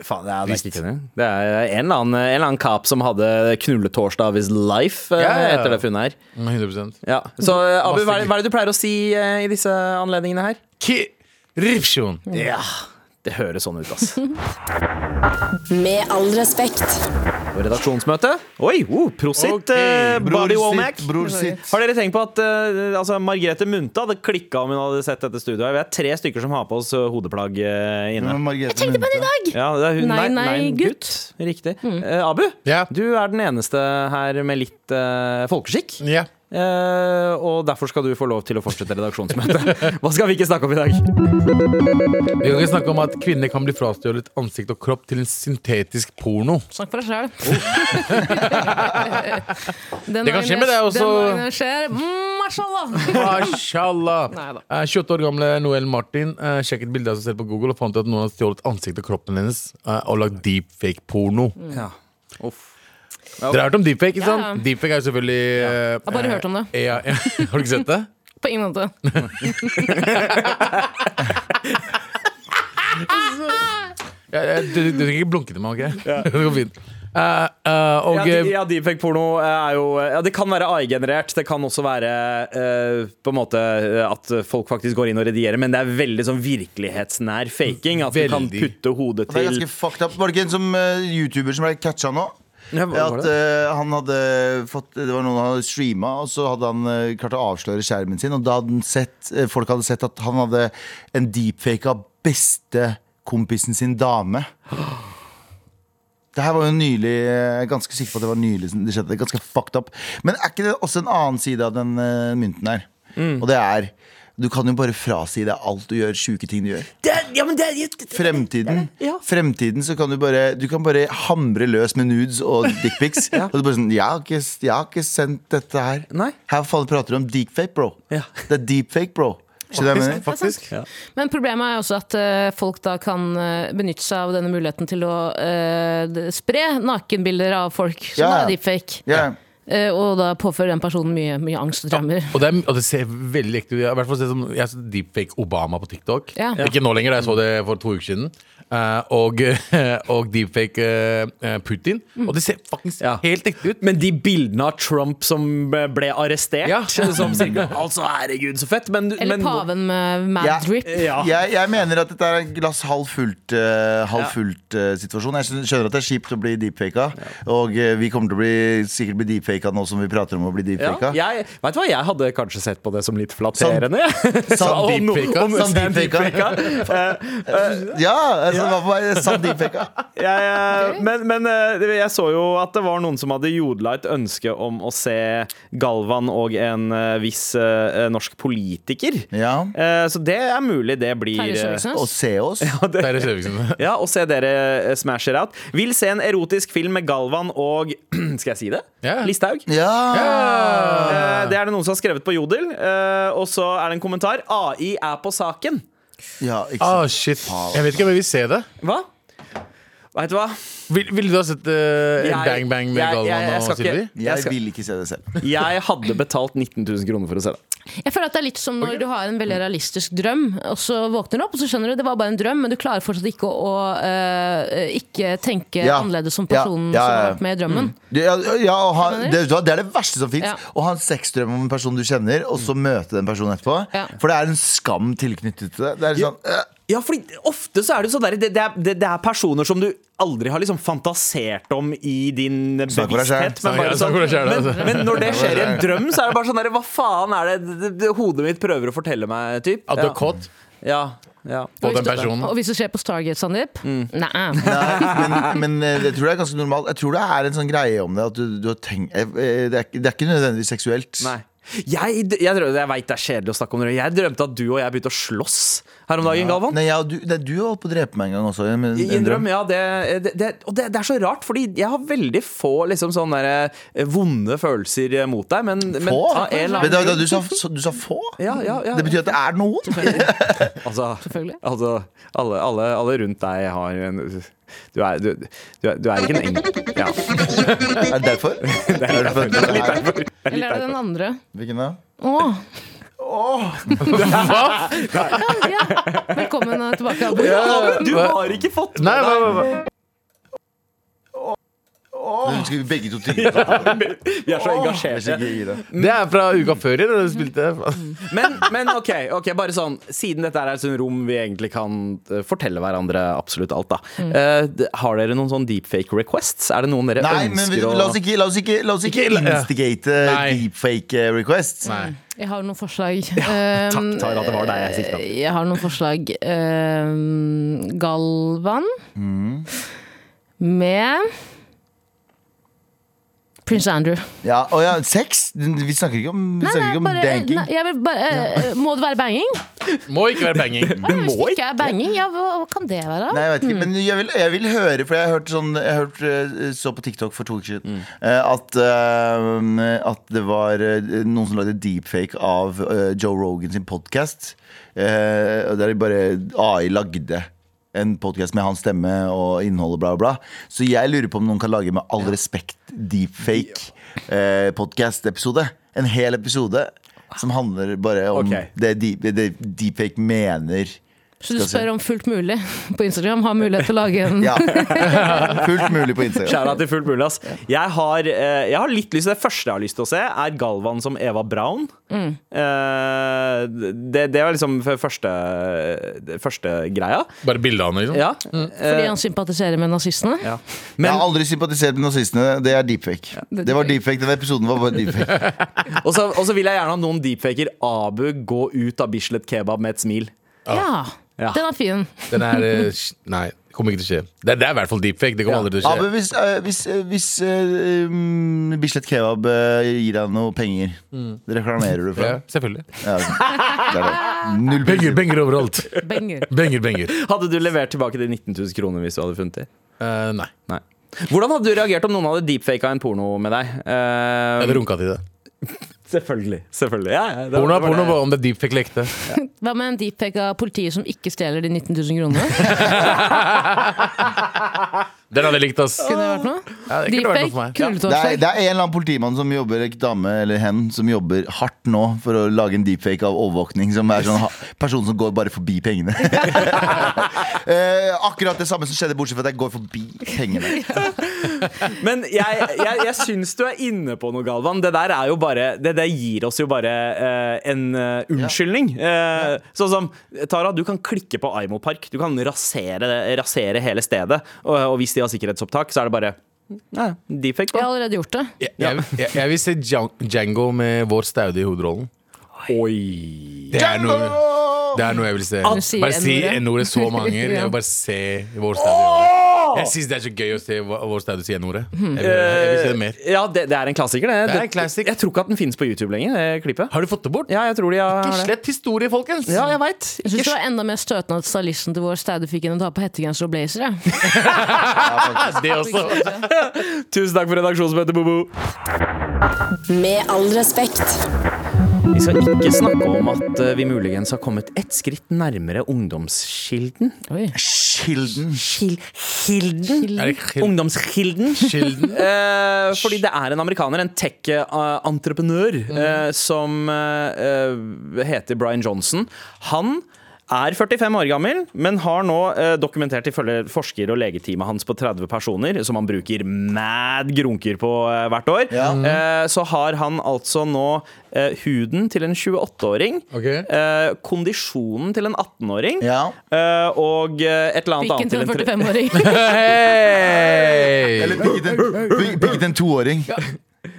D: Faen, det er, det, er ikke det. det er en eller annen, en eller annen kap som hadde knulletorsdag of his life, eh,
A: Ja, ja, ja.
D: heter det funnet her.
A: Mm, 100
D: Ja. Så eh, Abu,
A: Masse
D: hva er,
A: gøy.
D: hva er det du pleier å si eh, i disse anledningene her?
A: Kirripsjon!
D: Ja, det høres sånn ut, ass.
E: Med all respekt.
D: Og Redaksjonsmøte. Oi, oh, prosit,
A: Ok,
D: eh,
C: Bror
D: Buddy Womack.
C: sitt, bror sitt.
D: Har dere tenkt på at eh, altså, Margrethe Munthe hadde klikka om hun hadde sett dette studioet? Vi er tre stykker som har på oss eh, hodeplagg eh, inne.
C: Jeg tenkte på det i dag!
D: Ja, det er hun,
B: Nei,
D: nei, nei,
B: nei,
D: gutt. Riktig. Eh, Abu,
A: Ja.
D: du er den eneste her med litt eh, folkeskikk.
A: Ja.
D: Eh, og derfor skal du få lov til å fortsette redaksjonsmøtet. [LAUGHS] Hva skal vi ikke snakke om i dag?
A: Vi kan ikke snakke om at kvinner kan bli frastjålet ansikt og kropp til en syntetisk porno.
B: Snakk for deg sjøl. [LAUGHS]
A: Det kan skje med deg også.
B: Den dagen det skjer, mm, mashallah.
C: [LAUGHS]
A: Mashallah.
B: Neida.
A: Eh, 28 år gamle Noel Martin eh, sjekket bildet av seg selv på Google og fant ut at noen hadde stjålet ansiktet og kroppen hennes eh, og lagd deepfake-porno.
D: Ja. Uff.
A: Dere har hørt om deepfake, ikke sant?
B: Ja, ja.
A: Deepfake er jo selvfølgelig Jeg
B: har bare hørt om det.
A: Ja, [LAUGHS] ja. Har du ikke sett det?
B: På ingen måte.
A: Ja, ja, du, du trenger ikke blunke til meg, OK? [LAUGHS] Det går fint. Eh, eh, og
D: Ja, de-
A: eh,
D: ja, deepfake-porno er jo eh, ja, Det kan være AI-generert. Det kan også være eh, på en måte eh, at folk faktisk går inn og redigerer, men det er veldig sånn virkelighetsnær faking. At du kan
A: Veldig.
D: putte hodet
C: Det er
D: til
C: ganske fucked up. Var det ikke en som eh, YouTuber som ble catcha nå?
D: Ja, hva var
C: At
D: det?
C: eh, han hadde fått Det var noen han hadde streama, og så hadde han eh, klart å avsløre skjermen sin. Og da hadde han sett, eh, folk hadde sett at han hadde en deepfake av bestekompisen sin dame. Det her var jo nylig eh, Jeg er ganske sikker på at det var nylig som det skjedde. Det er ganske fucked up. Men er ikke det også en annen side av den eh, mynten her?
D: Mm.
C: Og det er Du kan jo bare frasi deg alt du gjør, sjuke ting du gjør
D: det, er- ja, men det, er-
C: fremtiden, fremtiden så kan du bare Du kan bare hamre løs med nudes og dickpics. Og du bare sånn jeg har, ikke, 'Jeg har ikke sendt dette her'.
D: Nei.
C: Her faen prater du om deepfake, bro.
D: Ja.
C: Det er deepfake, bro. Skjønner du hva jeg mener?
A: Faktisk.
B: Men problemet er jo også at eh, folk da kan eh, benytte seg av denne muligheten til å eh, d- spre nakenbilder av folk som
C: Ja, ja.
B: er deepfake.
C: Ja.
B: Eh, og da påfører den personen mye, mye angst og traumer.
A: Og det, er, og det ser veldig ekte ut. Jeg har i hvert fall sett som- jeg har sett deepfake Obama på TikTok.
B: Ja.
A: Ikke nå lenger, da jeg så det for to uker siden. Eh, og, [LAUGHS] og deepfake eh, eh, Putin.
B: Mm.
A: Og det ser faktisk
D: Ja.
A: helt ekte ut.
D: Men de bildene av Trump som ble arrestert
A: Ja.
D: [LAUGHS] som sier, Altså, herregud, så fett! Men,
B: Eller
D: men,
B: paven med mad
C: Ja.
B: drip.
D: Ja.
C: Jeg, jeg mener at dette er en glass halv fullt, eh, halv fullt eh, situasjon. Jeg skjønner at det er kjipt å bli deepfaka, og eh, vi kommer til å bli, sikkert bli deepfaka deepfaka nå som vi prater om å bli deepfaka?
D: Ja, jeg, vet du hva, jeg hadde kanskje sett på det som litt flatterende.
C: [LAUGHS] Sa
D: Om
C: deep
D: no-
A: deepfaka?
D: om-
C: Sa
D: sa han [LAUGHS]
C: deepfaka?
D: deepfaka? Eh, eh,
C: Ja, altså, det var på vei sa deepfaka.
D: jeg, eh, men men eh, jeg så jo at det var noen som hadde jodla et ønske om å se Galvan og en eh, viss eh, norsk politiker.
C: Ja.
D: Eh, Så det er mulig det blir
B: Terje
D: eh,
B: Søviknes?
C: Og se oss.
A: Terje Søviksen.
D: Ja, og se dere eh, smasher out. Vil se en erotisk film med Galvan og [CLEARS THROAT] Skal jeg si det?
A: Ja. Ah.
D: Listhaug.
C: Ja!
D: Eh, Det er det noen som har skrevet på Jodel. eh, Og så er det en kommentar. AI er på saken.
C: ja ikke
A: Ah,
C: sant.
A: shit. Jeg vet ikke om jeg vil se det.
D: Hva? Veit du hva?
A: Vil- Ville du ha sett eh,
D: Jeg-
A: Bang Bang med
D: jeg- jeg- jeg skal
A: Galvan og
D: ikke-
A: Sylvi?
D: Jeg
C: Jeg
D: skal-
C: vil ikke se det selv.
D: Jeg hadde betalt 19 000 kroner for å se det.
B: Jeg føler at det er litt som når du har en veldig realistisk drøm, og så våkner du opp, og så skjønner du at det var bare en drøm, men du klarer fortsatt ikke å, å øh, ikke tenke
C: Ja.
B: annerledes som
C: Ja.
B: personen
C: Ja, ja,
B: som
C: ja.
B: har vært med i drømmen.
C: [LAUGHS] Ja, ja og ha,
B: Skjønner du?
C: det, vet du hva, det er det verste som fins.
B: Ja.
C: Å ha en sexdrøm om en person du kjenner, og så møte den personen etterpå.
B: Ja.
C: For det er en skam tilknyttet til det. Det er sånn, øh,
D: Ja, fordi ofte så er det jo sånn der, det, det, er, det, det er personer som du aldri har liksom fantasert om i din
C: Snakk for deg selv.
D: bevissthet. Men,
A: Ja,
D: bare
A: snakk for deg selv,
D: sånn,
A: altså.
D: men, men når det skjer i en drøm, så er det bare sånn der, Hva faen er det, det, det hodet mitt prøver å fortelle meg? Typ.
A: At du
D: Ja.
A: er kåt
D: Ja, ja.
B: Og
A: på
B: hvis
A: den
B: du-
A: personen?
B: Og hvis det skjer på Stargate, Sandeep Nei.
C: nei, [LAUGHS] men, men eh, jeg tror det er ganske normalt. Jeg tror det er en sånn greie om det at du, du har tenkt eh, det, er, ikke- det er ikke nødvendigvis seksuelt.
D: Nei. Jeg, jeg, drømte- jeg vet det er kjedelig å snakke om det. Jeg drømte at du og jeg begynte å slåss her om dagen, Galvan.
C: Sånn. Nei, ja, du, nei, du holdt på å drepe meg en gang også. Med en,
D: I en
C: en drøm.
D: drøm, ja. Det, det, det, og det, det er så rart, fordi jeg har veldig få liksom, sånne der, eh, vonde følelser eh, mot deg. Men, men
C: Få?
D: av en eller
C: Men da,
D: annen
C: da, du, sa, så, du sa få?
D: Ja, ja, ja.
C: Det betyr at det er [LAUGHS] noen?
D: Altså,
B: Selvfølgelig.
D: altså alle, alle, alle rundt deg har en Du er, du, du er, du er ikke en enkel ja.
C: Er det derfor? [LAUGHS] Det er derfor.
B: Eller er det den andre?
C: Hvilken da?
B: Åh. Ja, ja. Velkommen eh, tilbake, Abu.
D: Du har ikke fått
A: Nei, hva, hva, hva?
C: Nå skal vi begge to tygge på det.
D: Vi er så
C: Jeg
D: engasjerte.
C: skal ikke gi det.
A: Det er fra uka før i det du spilte.
D: Mm. Men, men ok, ok, bare sånn Siden dette er et sånt rom vi egentlig kan eh, fortelle hverandre absolutt alt, da. Eh, d- har dere noen sånn deepfake requests? Er det noen dere
C: Nei, men
D: ønsker
C: la oss ikke, la oss ikke, la oss ikke instigate
A: Nei.
C: deepfake eh, requests.
B: Jeg har noen forslag. Ja,
D: takk, Tara, det var deg jeg siktet.
B: Jeg har noen forslag. Ehm, Galvan
C: Mm.
B: med Prince Andrew.
C: Ja, og ja, sex? Vi snakker ikke om, vi snakker ikke om danking.
B: nei, jeg vil bare, eh, Må det være banging?
A: Må ikke være banging.
B: Nei, Hvis det ikke er banging, ja, hva, hva kan det være?
C: Nei, jeg vet ikke, men jeg vil, jeg vil høre, for jeg hørte sånn Jeg hørte, eh, så på TikTok for to uker siden eh, at, eh, at det var eh, noen som lagde deepfake av eh, Joe Rogan sin podkast. Der de bare AI lagde en podkast med hans stemme og innholdet, bla, bla. Så jeg lurer på om noen kan lage med all respekt deepfake podkast-episode. En hel episode som handler bare om
D: Ok.
C: det, deep, det deepfake mener.
B: Så du
C: Skal se.
B: spør om fullt mulig på Instagram har mulighet til å lage en
C: [LAUGHS] Ja. Fullt mulig på Instagram.
D: Skjæra til fullt mulig, ass. Jeg har, eh, jeg har litt lyst Det første jeg har lyst til å se, er Galvan som Eva Braun. Eh, det, det var liksom f- første, det første greia.
A: Bare bilde av han, liksom.
D: Ja.
B: fordi han sympatiserer med nazistene?
D: ja.
C: jeg
D: Men,
C: har aldri sympatisert med nazistene. Det er deepfake.
B: det er
C: Det var deepfake, Den episoden var bare [LAUGHS] deepfake.
D: og så og så vil jeg gjerne ha noen deepfaker Abu gå ut av Bislett Kebab med et smil.
B: Ja.
D: Ja.
B: Den er fin.
A: Den er eh, sj- Nei, det kommer ikke til å skje. Det, det er i hvert fall deepfake. Det
D: Ja.
A: kommer aldri til å
C: Abu,
A: skje.
C: hvis, eh, hvis, eh, hvis eh, mm, Bislett Kebab eh, gir deg noe penger, det reklamerer du for.
A: Ja, selvfølgelig.
C: Ja, det
B: [LAUGHS]
C: er det. Null
A: Benger, benger overalt.
B: Banger.
A: Benger, benger.
D: Hadde du levert tilbake de 19 000 kroner hvis du hadde funnet dem?
A: Eh, nei.
D: Nei. Hvordan hadde du reagert om noen hadde deepfaka en porno med deg? Eh,
A: Jeg hadde runka til det.
D: selvfølgelig. selvfølgelig. Ja, ja, det-
A: Porno
D: det
A: er
D: var
A: porno,
D: det.
A: bare om det er deepfake eller ekte.
B: Hva med en deepfake av politiet som ikke stjeler de 19 000 kronene?
A: Den hadde jeg likt, ass.
B: Kunne det vært noe?
A: Ja, det kunne vært noe for
B: Deepfake?
A: meg.
C: det er,
B: Knulletorsdag?
C: det er en eller annen politimann som jobber ikke dame eller hen Som jobber hardt nå for å lage en deepfake av overvåkning. Som er sånn ha- person som går bare forbi pengene. [LAUGHS] Eh, akkurat det samme som skjedde, bortsett fra at jeg går forbi pengene.
B: [LAUGHS]
D: Men jeg, jeg, jeg syns du er inne på noe, Galvan. Det der er jo bare Det der gir oss jo bare eh, en eh, unnskyldning. Eh, Sånn som Tara, du kan klikke på Aimo Park. Du kan rasere, rasere hele stedet. Og, og hvis de har sikkerhetsopptak, så er det bare Nei, deepfake,
B: Jeg har
D: da.
B: allerede gjort det.
A: Jeg, jeg, jeg, jeg vil se Jango med vår staude i hovedrollen.
D: Oi.
A: Det er noe, det er noe jeg vil se.
B: Du sier
A: Bare si
B: N-ordet.
A: N-ordet [LAUGHS] så mange ganger. Jeg vil bare se vår staude. Jeg syns det er så gøy å se hva- vår staude si N-ordet. Jeg, vil- jeg vil se det mer.
D: Ja, det, det er en klassiker, det.
A: Det er en klassik.
D: Jeg tror ikke at den finnes på YouTube lenger, det klippet.
A: Har du fått det bort?
D: Ja, jeg tror de har har det.
A: Slett historie, folkens!
D: Ja,
A: [LAUGHS]
D: jeg veit.
B: Jeg synes det var enda mer støtende at stylisten til vår staude fikk henne til å ha på hettegenser og blazer. Jeg.
A: Det også.
D: Tusen takk for redaksjonsmøtet, Bobo.
E: Med all respekt.
D: Vi skal ikke snakke om at eh, vi muligens har kommet ett skritt nærmere ungdomskilden.
B: Oi.
C: Kilden.
D: Kil hilden?
A: Mm. Er det Hilden?
D: Ungdomskilden.
A: Kilden.
D: Eh, fordi det er en amerikaner, en tech-entreprenør,
C: Mm.
D: eh, som eh, eh, heter Brian Johnson. Han er 45 år gammel, men har nå eh, dokumentert ifølge forsker- og legeteamet hans på 30 personer, som han bruker mad grunker på eh, hvert år,
C: Ja. Mm.
D: eh, så har han altså nå eh, huden til en 28-åring,
A: Ok.
D: eh, kondisjonen til en 18-åring
C: Ja.
D: eh, og eh, et eller annet
B: Pikken
D: annet
B: til en
D: til en 3
B: 45-åring.
A: Hei!
C: Eller bygget en, byg- bygget en toåring.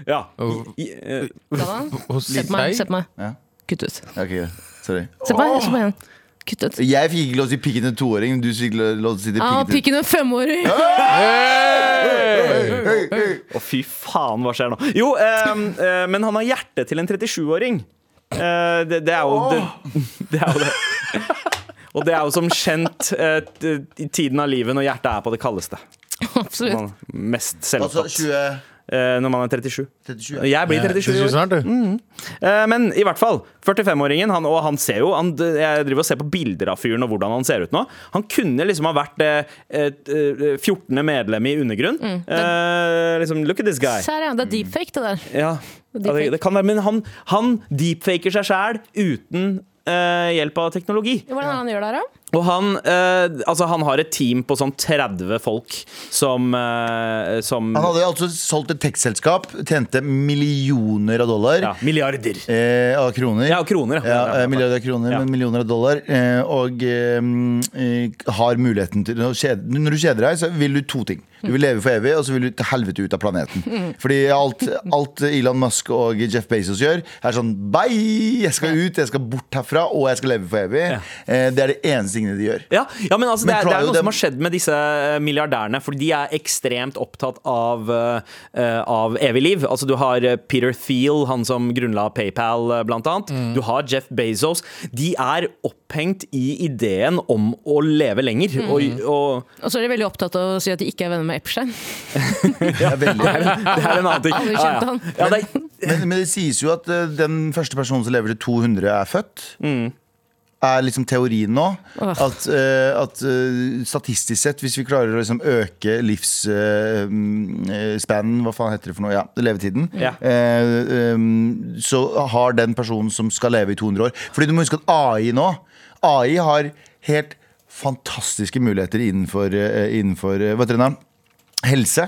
D: Ja.
A: Oh.
D: I, eh,
A: Hos
B: Se på meg. Se
A: deg?
B: på meg.
C: Ja.
B: Kutt ut.
C: Ok, sorry.
B: Se på meg. Se på meg igjen. Kutt ut.
C: Jeg fikk ikke lov til å si pikken til en toåring, men du fikk lov til å si det
B: Ah,
C: pikken til
B: pikken til en femåring!
A: Hey!
D: Å, fy faen, hva skjer nå? Jo, ehm, eh, men han har hjertet til en 37-åring. Eh, det, det er jo det, [LAUGHS] det er jo det. Og det er jo som kjent eh, t- i tiden av livet når hjertet er på det kaldeste.
B: [LAUGHS] Absolutt.
D: Man er mest
C: Altså
D: selvopptatt
C: 20...
D: eh, når man er 37.
C: 37.
D: Jeg blir 37 i år.
A: snart, du.
D: Eh, Men i hvert fall, 45-åringen, han, og han ser jo han, Jeg driver og ser på bilder av fyren og hvordan han ser ut nå. Han kunne liksom ha vært eh, et, eh, 14. medlem i Undergrunn. Eh, liksom, look at this guy.
B: Se her, ja. Det er deepfake, det der.
D: Ja, ja det, det kan være, men han, han deepfaker seg sjæl uten eh, hjelp av teknologi.
B: Hvordan er det han gjør det her, da?
D: Og han, eh, altså han har et team på sånn 30 folk som, eh, som
C: Han hadde altså solgt et tekstselskap, tjente millioner av dollar.
D: ja, Milliarder.
C: Eh, av kroner.
D: Ja, og kroner.
C: Ja, eh, milliarder av kroner,
D: Ja.
C: men millioner av dollar. Eh, og eh, mm, eh, har muligheten til å kjede, Når du kjeder deg, så vil du to ting. Du vil leve for evig, og så vil du til helvete ut av planeten. [LAUGHS] Fordi alt, alt Elon Musk og Jeff Bezos gjør, er sånn Bye! Jeg skal ut, jeg skal bort herfra, og jeg skal leve for evig. Eh, det er det eneste tingene de gjør.
D: Ja, ja, men altså, det,
C: Men
D: er, det
C: klarer
D: er
C: jo
D: noe
C: dem-
D: som har skjedd med disse eh, milliardærene, for de er ekstremt opptatt av, eh, eh, av evig liv. Altså, du har eh, Peter Thiel, han som grunnla PayPal, eh, blant annet. Du har Jeff Bezos. De er opphengt i ideen om å leve lenger. Og, og
B: Og så er de veldig opptatt av å si at de ikke er venner med Epstein.
C: Det er veldig
D: [LAUGHS] det er en annen ting.
B: Aldri
D: Ja,
B: kjente
D: ja.
B: han.
D: Ja, det er,
C: Men, men det sies jo at eh, den første personen som lever til 200 er født. Er liksom teorien nå. At, eh, at eh, statistisk sett, hvis vi klarer å liksom øke eh, livsspannen, hva faen heter det for noe, ja, levetiden,
D: Ja.
C: eh, em, så har den personen som skal leve i 200 år Fordi du må huske at AI nå AI har helt fantastiske muligheter innenfor, eh, innenfor eh, Hva heter det navn? helse.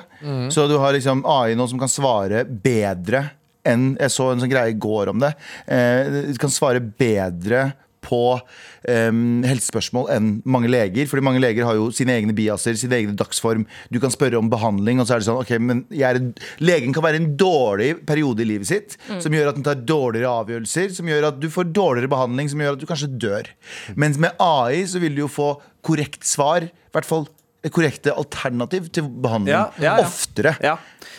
C: Så du har liksom AI nå som kan svare bedre enn Jeg så en sånn greie i går om det. Eh, du kan svare bedre på eh, helsespørsmål enn mange leger. Fordi mange leger har jo sine egne biaser, sin egen dagsform. Du kan spørre om behandling, og så er det sånn OK, men jeg er en, legen kan være i en dårlig periode i livet sitt
D: Mm.
C: som gjør at den tar dårligere avgjørelser, som gjør at du får dårligere behandling, som gjør at du kanskje dør.
D: Mm.
C: Mens med AI så vil du jo få korrekt svar, i hvert fall korrekte alternativ til behandling
D: Ja, ja, ja.
C: oftere.
D: ja.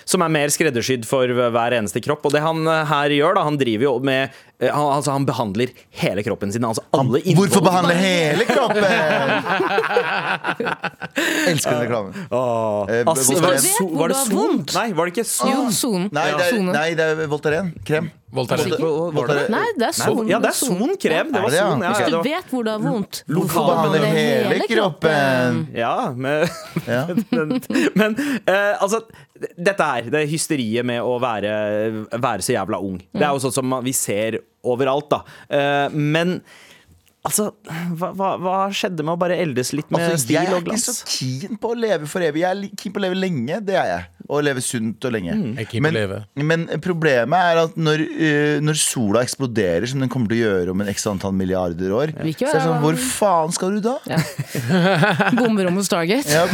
D: Som er mer skreddersydd for hver eneste kropp. Og det han eh, her gjør, da, han driver jo med eh, han, altså, han behandler hele kroppen sin. Altså alle
C: Hvorfor
D: innvoller.
C: behandle hele
D: [LAUGHS]
C: kroppen?! Elsker den reklamen. Eh,
D: Ass,
C: Voltaren.
D: var, det
B: Jeg vet
D: so,
B: hvor
D: var
B: det var
D: det Son?
B: vondt.
D: Nei, var det ikke
B: Jo,
D: Son?
B: sonen.
C: Nei, det er,
B: Sone.
C: nei, det er Voltaren. Krem.
A: Voltaren.
D: Var det- var det-
B: Nei, det er
D: Nei,
B: sonen.
D: ja, det er Son krem. Det var
C: Er det, ja?
D: Son, ja.
C: Ok.
D: ja,
B: Du
D: det var,
B: vet hvor det er vondt.
C: Hvorfor behandle hele kroppen?
D: ja [LAUGHS] men,
C: Ja.
D: men, men eh, altså Dette her, det hysteriet med å være,
C: Mm.
D: være så jævla ung. Det er jo sånn som vi ser overalt, da. Eh, men Altså, hva, hva, hva skjedde med å bare eldes litt med
C: Altså, jeg er
D: bil og
C: ikke så
D: glass?
C: keen på å leve for evig. Jeg er li- keen på å leve lenge. Det er jeg. Og leve sunt og lenge.
A: Mm. Jeg er keen på
C: Men,
A: å leve.
C: men problemet er at når, eh, når sola eksploderer, som den kommer til å gjøre om en x antall milliarder år,
B: Vil ikke
C: så er det sånn,
B: være-
C: hvor faen skal du da?
B: Bomberom hos Stargate.
C: Ja.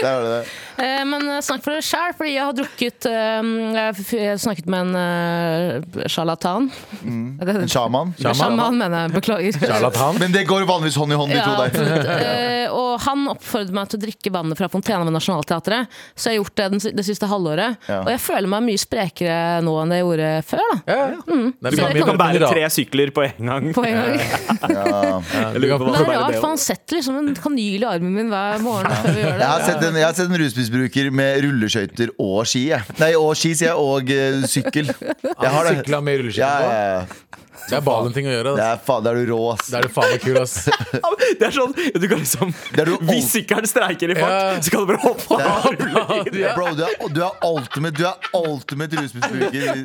C: Der har du det.
B: Eh, Men eh, snakk for deg sjæl, fordi jeg har drukket eh, Jeg f- jeg snakket med en eh, sjarlatan. Er det-
C: Mm. En sjaman.
B: Sjaman, mener jeg.
C: [LAUGHS]
B: Beklager.
A: Charlatan.
D: Mm.
C: Men det går vanligvis hånd i hånd, de
B: Ja,
C: to der.
B: absolutt. [LAUGHS] Eh, og han oppfordret meg til å drikke vannet fra fontena ved Nationaltheatret. Så jeg har gjort det den, si- det siste halvåret.
C: Ja.
B: Og jeg føler meg mye sprekere nå enn jeg gjorde før. da
A: Ja. Det er
B: Så
A: mye
B: det
A: mindre
D: Kan bære
A: mineral.
D: tre sykler på en gang. [LAUGHS]
B: på en gang. [LAUGHS]
A: Ja, du kan
B: Det
D: Hva
B: er
D: er det
B: rart,
D: det
B: for han setter liksom en kanyl i armen min hver morgen. Før vi gjør det
C: Jeg har, sett en, jeg har sett en rusmisbruker med rulleskøyter og ski. Jeg. Nei, og ski, sier jeg. Og eh, sykkel. Jeg har det.
A: Sykla med
C: Ja,
A: rulleskive
C: ja,
A: på.
C: ja.
A: Det er Balin-ting å gjøre.
C: Det
A: ass.
C: er, faen, det er du rå, ass.
A: Da er du faen meg kul, ass.
D: Det er sånn, du kan liksom
C: er du
D: Hvis sykkelen streiker i fart,
A: Ja.
D: så kan du bare hoppe av.
A: Ja.
C: Bro, du er, du er ultimate, du er ultimate rusmisbruker.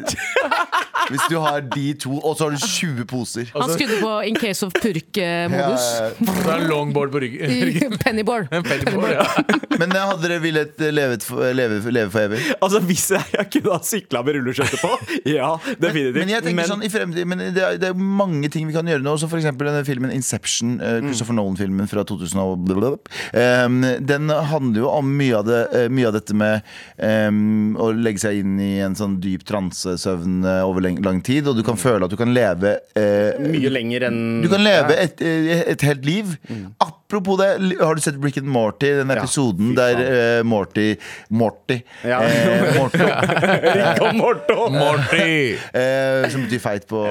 C: Hvis du har de to, og så har du 20 poser.
B: Han skudde på in case of eh, purk-modus.
C: [LAUGHS] Ja,
A: Så er det longboard på ryggen.
B: [LAUGHS]
A: ryggen.
B: Pennyboard.
A: En pennyboard, ja. [LAUGHS]
C: Men eh, hadde dere villet leve for, leve, leve for evig?
D: Altså, hvis jeg kunne ha sykla med rulleskøyter på, [LAUGHS] ja, definitivt.
C: Men jeg tenker sånn i fremtiden Men det er, det er mange ting vi kan gjøre nå. Så for eksempel denne filmen Inception, eh,
D: Mm.
C: Christopher Nolan-filmen fra 2000 og blablabla. Em, Den handler jo om mye av, det, eh, mye av dette med em, å legge seg inn i en sånn dyp transesøvn eh, over lang, lang tid. Og du kan føle at du kan leve eh,
D: Mm. Mye lenger enn
C: Du kan leve et, eh, et helt liv.
D: Mm.
C: Apropos det, har du sett Brick and Morty? Den episoden der eh, Morty Morty,
D: Ja.
C: eh, Morty
D: [LAUGHS]
C: [LAUGHS]
D: Rick og Morto.
A: Morty!
C: eh,
D: [LAUGHS]
C: Som betyr feit på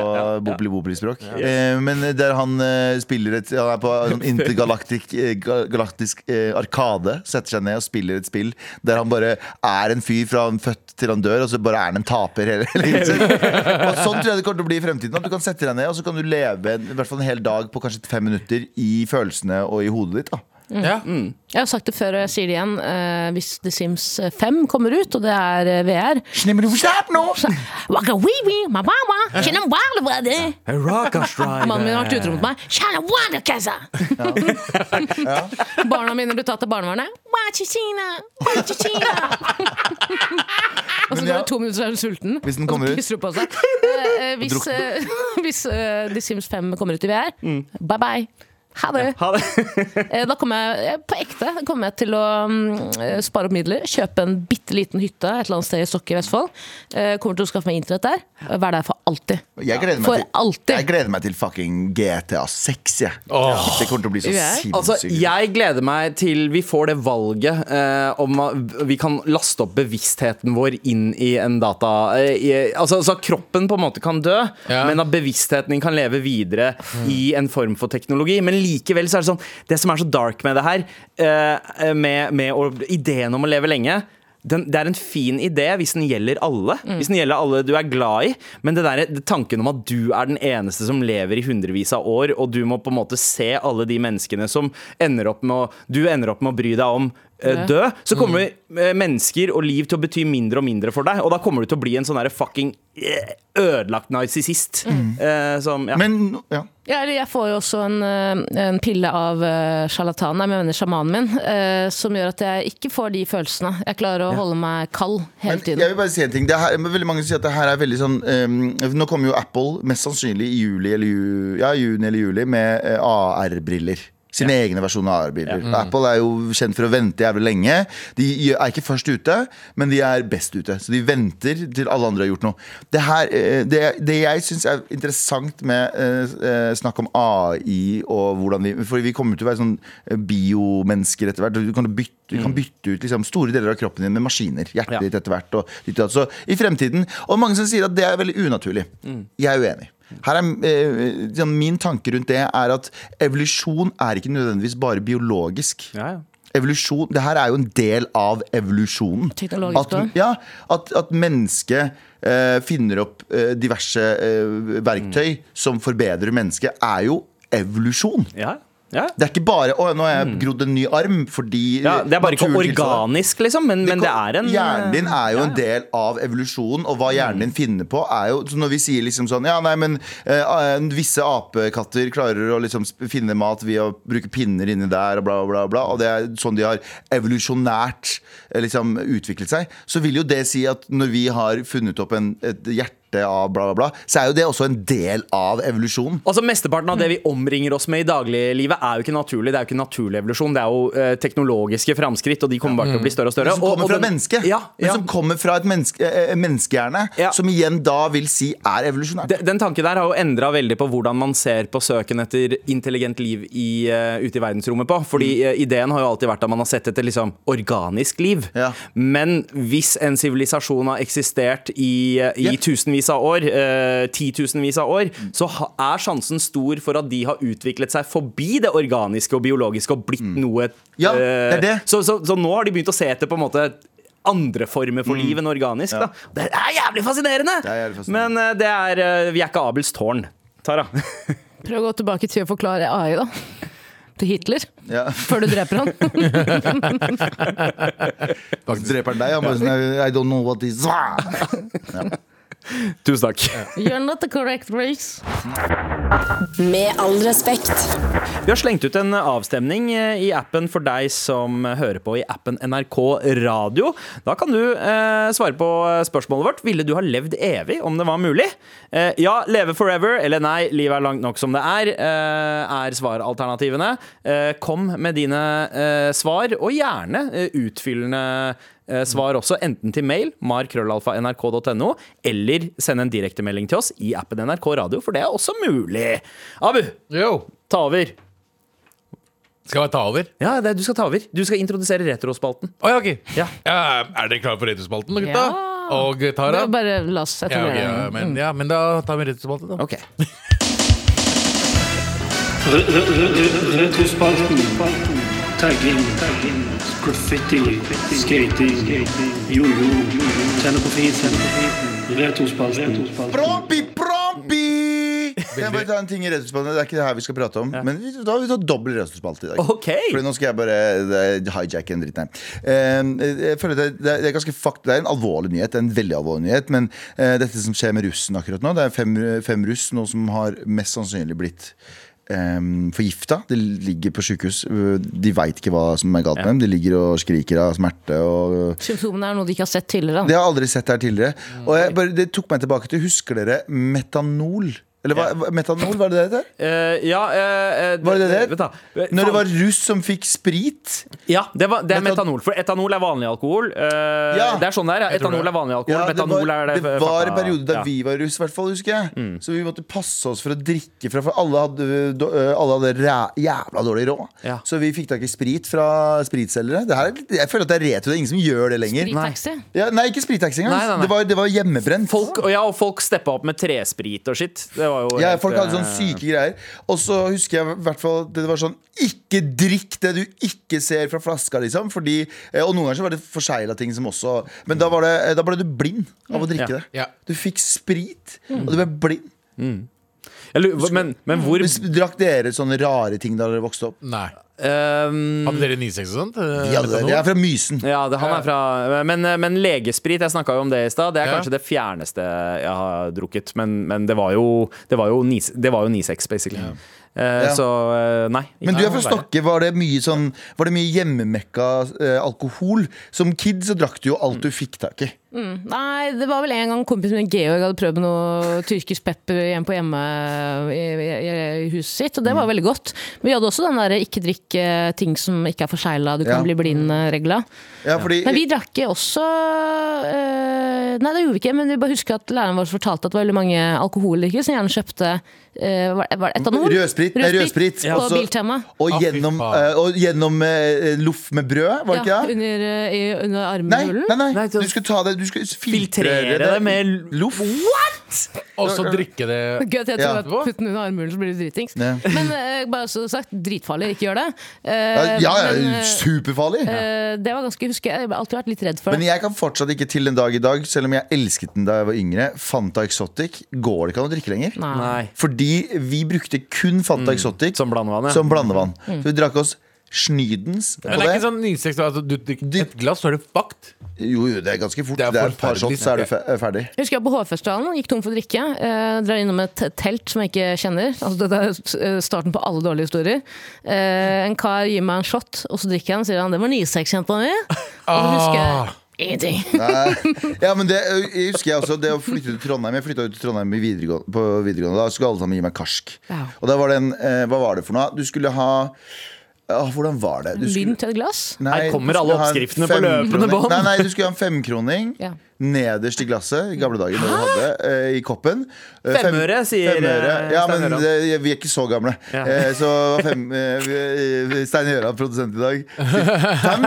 C: bopli bopli språk eh, Men der han eh, spiller et Han er på en sånn intergalaktisk eh, ga- Galaktisk eh, arkade Setter seg ned og spiller et spill Der han bare er en fyr fra han født til han dør Og så bare er han en taper hele, [LAUGHS] hele livet sitt. Og sånn tror jeg det kommer til å bli i fremtiden At du kan sette deg ned og så kan du leve en, I hvert fall en hel dag på kanskje fem minutter I følelsene og i hodet ditt da
A: Ja.
B: Jeg har sagt det før, og jeg sier det igjen. eh, hvis The Sims 5 kommer ut, og det er eh, VR så- Waka wee wee, ma ma ma, kjenner wild about it. Mannen min har vært utro mot meg. Kjenner wild about it. [LAUGHS] Barna mine blir tatt av barnevernet. Wa chichina, wa chichina. Og så går
C: Men
B: altså, det
C: ja.
B: to minutter, så er hun sulten.
C: Hvis den
B: og så
C: kommer ut.
B: pisser hun på
C: [LAUGHS]
B: seg. Eh, eh, hvis eh, [LAUGHS] hvis eh, The Sims 5 kommer ut i VR,
C: Mm.
B: bye bye. Ha det.
D: Ha det.
B: Eh, Da kommer jeg eh, på ekte kommer jeg til å mm, eh, spare opp midler, kjøpe en bitte liten hytte et eller annet sted i Stokke i Vestfold. Eh, Kommer til å skaffe meg internett der. og Være der for alltid.
C: Jeg gleder meg
B: For
C: til
B: alltid.
C: Jeg gleder meg til fucking GTA 6 jeg.
A: Åh.
C: Det kommer til å bli så
B: Jeg-
C: sinnssykt
D: Altså, jeg gleder meg til vi får det valget eh, om at vi kan laste opp bevisstheten vår inn i en data eh, i, altså, altså kroppen på en måte kan dø,
A: Ja.
D: men at bevisstheten din kan leve videre i en form for teknologi. Men likevel så er det sånn Det som er så dark med det her, eh, med, med å, ideen om å leve lenge den, det er en fin idé hvis den gjelder alle. Hvis den gjelder alle du er glad i. Men det der, det tanken om at du er den eneste som lever i hundrevis av år, og du må på en måte se alle de menneskene som ender opp med å, du ender opp med å bry deg om eh, dø, så kommer eh, mennesker og liv til å bety mindre og mindre for deg. Og da kommer du til å bli en sånn derre fucking eh, ødelagt narsissist. Eh, som ja.
C: Men, ja
B: Ja, eller jeg får jo også en, eh, en pille av eh, sjarlatanen, nei, men jeg mener sjamanen min, eh, som gjør at jeg ikke får de følelsene. Jeg klarer å holde meg kald hele
C: Men Jeg
B: tiden.
C: vil bare si en ting det her, men Veldig mange sier at det her er veldig sånn eh, Nå kommer jo Apple mest sannsynlig i juli eller, ju, ja, juni eller juli med eh, AR-briller. Sine egne versjoner av AR-briller. Apple er jo kjent for å vente jævlig lenge. De gjør- er ikke først ute, men de er best ute. Så de venter til alle andre har gjort noe. Det, her, eh, det, det jeg syns er interessant med eh, eh, snakk om AI og hvordan vi For vi kommer til å være sånn eh, biomennesker etter hvert. og Du kan bytte, du kan bytte ut liksom, store deler av kroppen din med maskiner. Hjertet
D: Mm. Ja.
C: ditt etter hvert. Og, ditt og datt. så i fremtiden. Og mange som sier at det er veldig unaturlig.
D: Mm.
C: Jeg er uenig. Her er, eh, sånn, min tanke rundt det er at evolusjon er ikke nødvendigvis bare biologisk.
D: Ja, ja.
C: Evolusjon, det her er jo en del av evolusjonen.
B: Teknologisk
C: at,
B: også.
C: ja, at, at mennesket eh, finner opp eh,
D: Mm.
C: diverse eh, verktøy som forbedrer mennesket, er jo evolusjon.
D: ja. Ja.
C: Det er ikke bare 'Å, nå har jeg grodd en ny arm' fordi
D: Mm. Ja, det er bare ikke
C: naturen tilsa det».
D: organisk, liksom, men, men det er en eh, Mm.
C: Hjernen din er jo en del av evolusjonen, og hva hjernen din finner på, er jo så Når vi sier liksom sånn Ja, nei, men eh, eh, visse apekatter klarer å liksom sp- finne mat ved å bruke pinner inni der, og bla, bla, bla, og det er sånn de har evolusjonært eh, liksom utviklet seg, så vil jo det si at når vi har funnet opp en, et hjerte av bla, bla, bla, så er jo det også en del av evolusjonen.
D: Altså Mesteparten av det vi omringer oss med i dagliglivet, er jo ikke naturlig. Det er jo ikke naturlig evolusjon, det er jo eh, teknologiske framskritt, og de kommer bare til å bli større og større.
C: Mm. Som kommer
D: og, og
C: fra
D: den-
C: mennesket.
D: Ja,
C: Men
D: ja.
C: som kommer fra et menneske, eh, eh, menneskehjerne,
D: Ja.
C: som igjen da vil si er evolusjonært.
D: De- Den tanken der har jo endra veldig på hvordan man ser på søken etter intelligent liv i, eh, ute i verdensrommet på. Fordi
C: Mm.
D: eh, ideen har jo alltid vært at man har sett etter liksom organisk liv.
C: Ja.
D: Men hvis en sivilisasjon har eksistert i, eh, i
C: Yep.
D: tusenvis av år, eh, titusenvis av år,
C: Mm.
D: så ha, er sjansen stor for at de har utviklet seg forbi det organiske og biologiske og blitt noe
C: Mm. Ja,
D: eh,
C: det er det.
D: Så, så, så nå har de begynt å se etter på en måte andre former for liv enn organisk. Da. Det er jævlig
C: Mm.
D: fascinerende!
C: Det er jævlig fascinerende.
D: Men eh, det er eh, Vi er ikke Abels tårn. Tara.
B: Prøv å gå tilbake til å forklare AI, da. [LAUGHS] Til Hitler.
C: Ja.
B: Før du dreper han.
C: [LAUGHS] Dreper han deg? Han bare sånn I don't know what this Hva
D: Tusen takk. [LAUGHS]
B: You're not the correct race.
E: Med all respekt.
D: Vi har slengt ut en avstemning eh, i appen for deg som hører på i appen NRK Radio. Da kan du eh, svare på spørsmålet vårt. Ville du ha levd evig om det var mulig? Eh, ja, leve forever, eller nei, livet er langt nok som det er, eh, er svaralternativene. Eh, kom med dine eh, svar, og gjerne eh, utfyllende Eh, Svar også enten til mail markrøllalfa.nrk.no, eller send en direktemelding til oss i appen NRK Radio, for det er også mulig. Abu,
A: Yo.
D: ta over.
A: Skal jeg ta over?
D: Ja, det, er- du skal ta over. Du skal introdusere retrospalten.
A: Å ja, ok.
D: Ja.
A: Ja, er dere klare for retrospalten, gutta?
B: Ja.
A: Og eh, Tara?
B: Bare- Bare la oss
A: Ja, ok, ja,
B: etablere
A: men, ja, men da tar vi retrospalten, da.
D: Ok.
G: Retrospalten. Tagging. Graffiti. Skating. Jojo. Tenner på fisen. Retrospalten.
C: Prompi, prompi! Kan jeg bare ta en ting i retrospalten? Det er ikke det her vi skal prate om. Men vi- da har vi tatt dobbel retrospalte i dag. [LAUGHS]
D: Ok.
C: Fordi nå skal jeg bare eh, hijacke en dritt her. Eh, Jeg føler det, det er- det er ganske fucked. Det er en alvorlig nyhet. Det er En veldig alvorlig nyhet. Men eh, dette som skjer med russen akkurat nå, det er fem, fem russ nå som har mest sannsynlig blitt Um, Forgifta. De ligger på sjukehus. De veit ikke hva som er galt med dem. De ligger og skriker av smerte og
B: Symptomene er noe de ikke har sett tidligere.
C: Det
B: da.
C: har jeg aldri sett her tidligere. Og jeg bare, det tok meg tilbake til Husker dere metanol? Eller hva, hva- metanol, var det det det het?
D: Eh, ja eh, eh,
C: Var det det?
D: Vent da. Eh,
C: Når det
D: faen.
C: var russ som fikk sprit?
D: Ja, det, var, det er
C: Metan-
D: metanol. For etanol er vanlig alkohol. Eh,
C: Ja.
D: Det er sånn det er. ja.
A: tror det.
D: Etanol er vanlig alkohol.
C: Ja, det
D: metanol
C: var,
D: er det
C: det var en
D: fakta-
C: periode da
D: ja. Mm.
C: vi var russ, i hvert fall, husker jeg. Så vi måtte passe oss for å drikke fra, for alle hadde, do- øh, alle hadde ræ, jævla dårlig råd.
D: Ja.
C: Så vi fikk tak i sprit fra spritselgere. Det her, er litt- jeg føler at det er retro. Det er ingen som gjør det lenger. Nei,
B: Drittaxi.
C: ja, nei ikke sprittaxi engang.
D: Nei, nei, nei.
C: Det, var- det var hjemmebrent.
D: Folk, og ja, og folk steppa opp med tresprit og skitt. Det var jo
C: Ja,
D: helt,
C: folk hadde sånn
D: eh,
C: sånne syke greier. Og så husker jeg i hvert fall at det var sånn Ikke drikk det du ikke ser fra flaska, liksom. Fordi, eh, og noen ganger så var det forsegla ting som også Men da, var det, eh, da ble du blind av å drikke
D: Ja.
C: det.
A: Ja.
C: Du fikk sprit, og du ble blind.
D: jeg lurer- Men, men hvor
C: Hvis- Drakk dere sånne rare ting da dere vokste opp?
A: Nei.
D: eh,
A: Hadde dere 96 og sånt? Eh,
C: Ja, det,
A: metanol?
C: jeg er fra Mysen.
D: Ja, det, han
C: Eh.
D: er fra Men, eh, men legesprit, jeg snakka jo om det i stad. Det er
A: Ja.
D: kanskje det fjerneste jeg har drukket. Men, men det var jo Det var jo, ni, det var jo Nisex, basically. Eh,
C: Ja.
D: Så eh, nei.
C: Men du
D: ikke
C: er fra
D: noe verre.
C: Stokke. Var det mye, sånn, var det mye hjemmemekka eh, alkohol? Som kid så drakk du jo alt du fikk tak i.
B: Nei, det var vel en gang kompisen min Georg hadde prøvd med noe tyrkisk pepper igjen på hjemme i, i, i huset sitt, og det
C: Mm.
B: var veldig godt. Men vi hadde også den derre ikke drikk eh, ting som ikke er forsegla, du
C: Ja.
B: kan bli blind-regla.
C: Ja, fordi,
B: Men vi drakk også eh, Nei, det gjorde vi ikke, men vi bare husker at læreren vår fortalte at det var veldig mange alkoholikere som gjerne kjøpte eh, var var det etanol?
C: Rødsprit, altså- nei, rødsprit.
B: På
C: Også-
B: Biltema.
C: og,
A: Ah, fy
C: gjennom,
A: faen.
C: eh, og gjennom eh, loff med brød, var det
B: Ja,
C: ikke det?
B: under, eh, i- under
C: Nei,
B: armhulen.
C: nei, nei.
D: Nei,
C: du skal ta det Du skal filtrere,
D: Filtrere det med
C: loff. What?
A: Og så drikke det
B: Gøy at jeg
C: Ja.
B: tror at putt den under armhulen, så blir du dritings.
C: Ja.
B: Men eh, bare så sagt, dritfarlig. Ikke gjør det. Eh,
C: Ja,
B: men,
C: ja,
B: eh,
C: superfarlig!
B: eh, det var ganske, husker jeg, jeg har alltid vært litt redd for
C: Men
B: det.
C: jeg kan fortsatt ikke til den dag i dag, selv om jeg elsket den da jeg var yngre. Fanta Exotic går det ikke an å drikke lenger.
B: Nei.
D: Nei.
C: Fordi vi brukte kun Fanta Exotic
D: Som blandevann, ja.
C: som blandevann. Så vi drakk oss snydens på
A: Men det er
C: det.
A: ikke sånn nysex altså, Du drikker et glass, så er du fucked.
C: Jo, jo, det er ganske fort.
A: Det
C: Det
A: er
C: er, et par
A: forferdelig.
C: shots, så er du fe ferdig.
B: Jeg husker jeg var på Hårfestivalen, gikk tom for drikke. Eh, drar innom et telt som jeg ikke kjenner. Altså, dette er eh, starten på alle dårlige historier. Eh, en kar gir meg en shot, og så drikker jeg den, og sier han 'det var 96-jenta mi'. Og så husker
A: Ah,
B: jeg ingenting.
C: Nei. Ja, men det jeg husker jeg også. Det å flytte til Trondheim Jeg flytta ut til Trondheim i videregående, på videregående. Da skulle alle sammen gi meg karsk.
B: Wow.
C: Og da var det en eh, Hva var det for noe? Du skulle ha ah, Hvordan var det? Du skulle,
B: Lynt til et glass.
C: Nei,
D: Her kommer
C: du skulle
D: alle
C: ha en
D: oppskriftene på
C: femkroning.
D: løpende bånd.
C: Nei, nei, du skulle ha en femkroning
B: Ja.
C: nederst i glasset i gamle dager. Når du hadde, eh, I koppen. Eh, fem-
D: Femøre, sier,
C: femøre.
D: eh,
C: Ja,
D: Stein
C: men
D: Gjøran.
C: det, vi er ikke så gamle.
D: Ja.
C: Eh, så fem, eh, vi- vi- Stein Gjøran, produsent i dag. sier, Fem,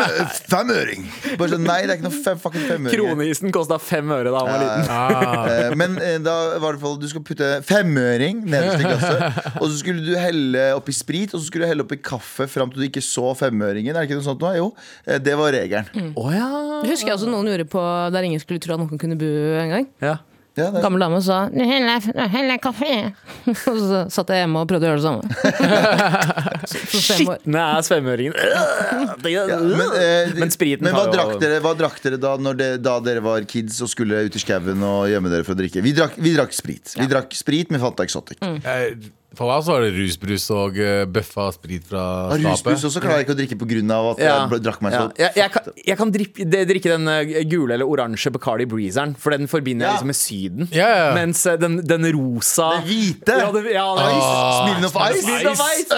C: femøring! Bare sånn, nei, det er ikke noe fem, fucking femøring.
D: Kronisen kosta fem øre da han var liten.
A: ah.
C: Eh, Men eh, da var det i hvert fall du skal putte femøring nederst i
D: [LAUGHS]
C: glasset. Og så skulle du helle oppi sprit, og så skulle du helle oppi kaffe fram til du ikke så femøringen. Er det ikke noe sånt nå? Jo, eh, det var regelen.
D: Å ja.
B: Det husker jeg også noen gjorde på der ingen skulle tro at noen kunne bu en gang.
D: ja.
C: Ja, det,
B: Gammel dame sa 'nå heller jeg- nå heller jeg kaffe'. [LAUGHS] Og så satt jeg hjemme og prøvde å gjøre det samme. [LAUGHS] Så, så stemmer-
D: Skittende er svømmeøringen.
C: ja, men, eh,
D: men spriten
C: men hva,
D: tar jo-
C: drakk dere, hva drakk dere da når det, da dere var kids og skulle ut i skauen og gjemme dere for å drikke? Vi drakk, vi drakk sprit. Vi drakk sprit med Fanta Exotic.
D: Mm.
A: Eh, For meg så var det rusbrus og eh, bøffa sprit fra
C: Og Rusbrus
A: skapet.
C: også klarer jeg ikke å drikke pga. at
D: Ja.
C: jeg drakk meg
D: Ja.
C: så
D: Jeg, jeg kan, jeg kan drikke, de- drikke den eh, gule eller oransje Bacardi Breezeren, for den forbinder jeg
C: Ja.
D: liksom med Syden.
A: Ja, ja, ja.
D: Mens eh, den, den rosa
C: Den hvite!
D: Ja, den, ja, den,
A: Ah,
C: Smirnoff Ice!
D: Smirnoff Ice.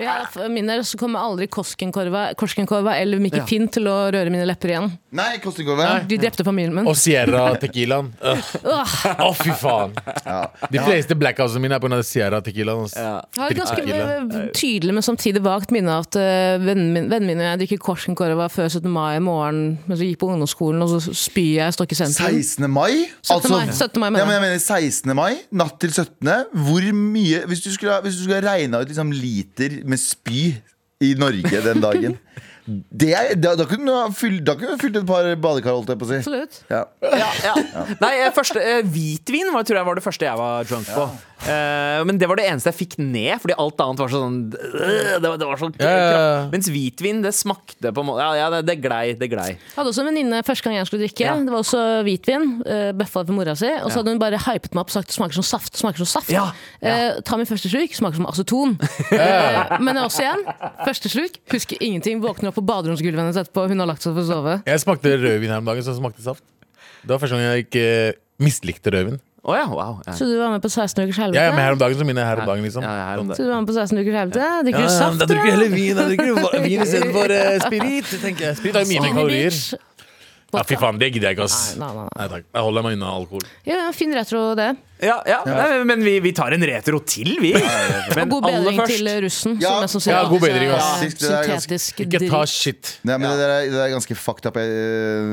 B: Ja, for min del så kommer aldri Koskenkorva, Korskenkorva eller Mikke Finn til å røre mine lepper igjen.
C: Nei, koster ikke over.
B: De drepte familien min.
A: Og Sierra Tequilaen. Å, fy faen! De fleste blackoutene mine er pga. Sierra Tequilaen. ass.
B: Jeg har et
A: Dritt
B: ganske
A: tequila.
B: eh, tydelig, men samtidig vagt minne av at eh, vennen min, vennen min og jeg drikker Korskenkorva før 17. mai morgen mens vi gikk på ungdomsskolen, og så spyr jeg i Stokke sentrum.
C: 16. mai?
B: 17.
C: Altså-
B: mai, 17. mai, mener
C: ja, men
B: jeg.
C: jeg mener 16. mai, natt til 17. Hvor mye Hvis du skulle, ha- hvis du skulle ha regna ut liksom liter med spy i Norge den
B: [LAUGHS]
C: dagen det er, da, da kunne du ha fylt, da kunne du ha fylt et par badekar, holdt jeg på å si.
B: Absolutt.
C: Ja.
D: ja, ja. Nei, eh, første, eh, hvitvin var, tror jeg var det første jeg var drunk på. Eh, men det var det eneste jeg fikk ned, fordi alt annet var sånn øh, det, var, det var sånn
A: Ja, ja, ja.
D: Mens hvitvin, det smakte på en måte Ja, ja det, det glei. Det glei.
B: Jeg hadde også en venninne første gang jeg skulle drikke.
D: Ja.
B: Det var også hvitvin. Uh, bøffa for mora si. Og så hadde hun bare hypet meg opp og sagt det smaker som saft. smaker som saft
D: Ja.
B: Eh, Ta min første sluk, smaker som
A: [LAUGHS]
B: aceton. Eh, men også igjen, første sluk, husker ingenting. Våkner opp på baderomsgulvet hennes etterpå, hun har lagt seg for å sove.
A: Jeg smakte rødvin her om dagen, så det smakte saft. Det var første gang jeg ikke mislikte rødvin.
D: Å ja, wow. Ja.
B: Så du var med på 16 ukers helvete?
A: Jeg er med her om dagen, så mine er her om dagen, liksom.
D: Ja, jeg er om det.
B: Så du var med på 16 ukers helvete? Drikker du saft?
A: drikker
B: da?
A: heller vin. Da drikker du vin istedenfor uh, spirit. tenker jeg. Spirit har jo mye mer
B: Skinny
A: kalorier.
B: bitch.
A: Ja, fy faen, det gidder jeg ikke, ass.
B: Nei, nei, nei.
A: Nei takk. Jeg holder meg unna alkohol.
B: Ja, fin retro, det.
D: [LAUGHS] Ja, ja. Nei, men vi, vi tar en retro til, vi. Men
B: God
D: aller
B: bedring til eh,
D: først
B: russen.
C: Ja.
B: som mest sannsynlig
A: Ja, god
B: alltid
A: bedring,
B: er
A: ass.
C: Ja, det er ganske-
B: Syntetisk
A: Ikke ta
B: dritt.
A: shit.
C: Nei, men det, der er, det der er ganske fucked up. eh,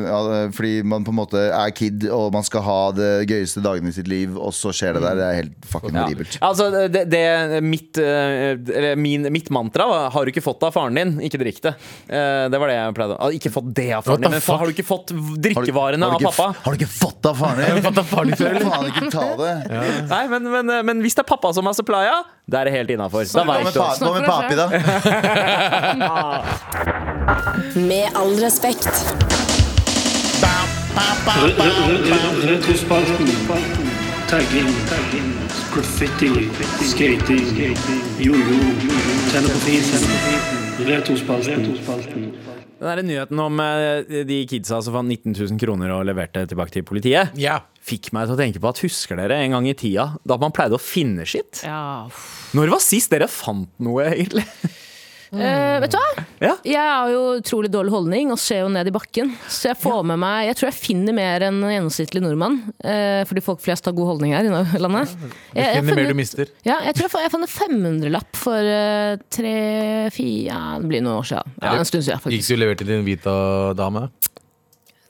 C: ja, fordi man på en måte er kid, og man skal ha det gøyeste dagene i sitt liv, og så skjer det der. Det er helt fucking
D: Ja.
C: horribelt.
D: Altså, det, det, mitt, eh, eller min, mitt mantra var 'har du ikke fått det av faren din, ikke drikk det'. Eh, Det var det jeg pleide. å- Ikke fått det av faren
A: What the
D: din, men
A: fuck?
D: har du ikke fått
C: Har du-
D: drikkevarene
C: har du ikke
D: av pappa?
C: f- Har du ikke fått det av faren
D: [LAUGHS]
C: din?
A: Hva faen
B: [LAUGHS]
C: Du får faen ikke ta det.
D: Nei, men, men, eh, men hvis det er pappa som har supplya, da er det helt innafor. Da
C: Hva
D: veit
C: med
D: du.
C: pa- hva med papi, da?
E: Med all respekt.
G: Re- re- re- Retrospalten. Tagging. Graffiti. Skating. Jojo. Tenne på fisen. Retrospalten.
D: Den der nyheten om eh, de kidsa som fant 19 000 kroner og leverte tilbake til politiet,
A: Ja.
D: fikk meg til å tenke på at husker dere en gang i tida da man pleide å finne skitt?
B: Ja, uff.
D: Når var sist dere fant noe, egentlig?
B: Eh, vet du hva?
D: Ja.
B: Jeg har jo utrolig dårlig holdning og ser jo ned i bakken. Så jeg får med meg Jeg tror jeg finner mer enn en gjennomsnittlig nordmann. eh, fordi folk flest har god holdning her i no- landet. Jeg, jeg,
A: Finner
B: funnet-
A: mer du mister.
B: ja, jeg tror jeg, fa- jeg fant en 500-lapp for eh, tre, fire ja, Det blir noen år siden. Ja, en stund siden,
A: Gikk
B: faktisk.
A: du og leverte til en hvita dame?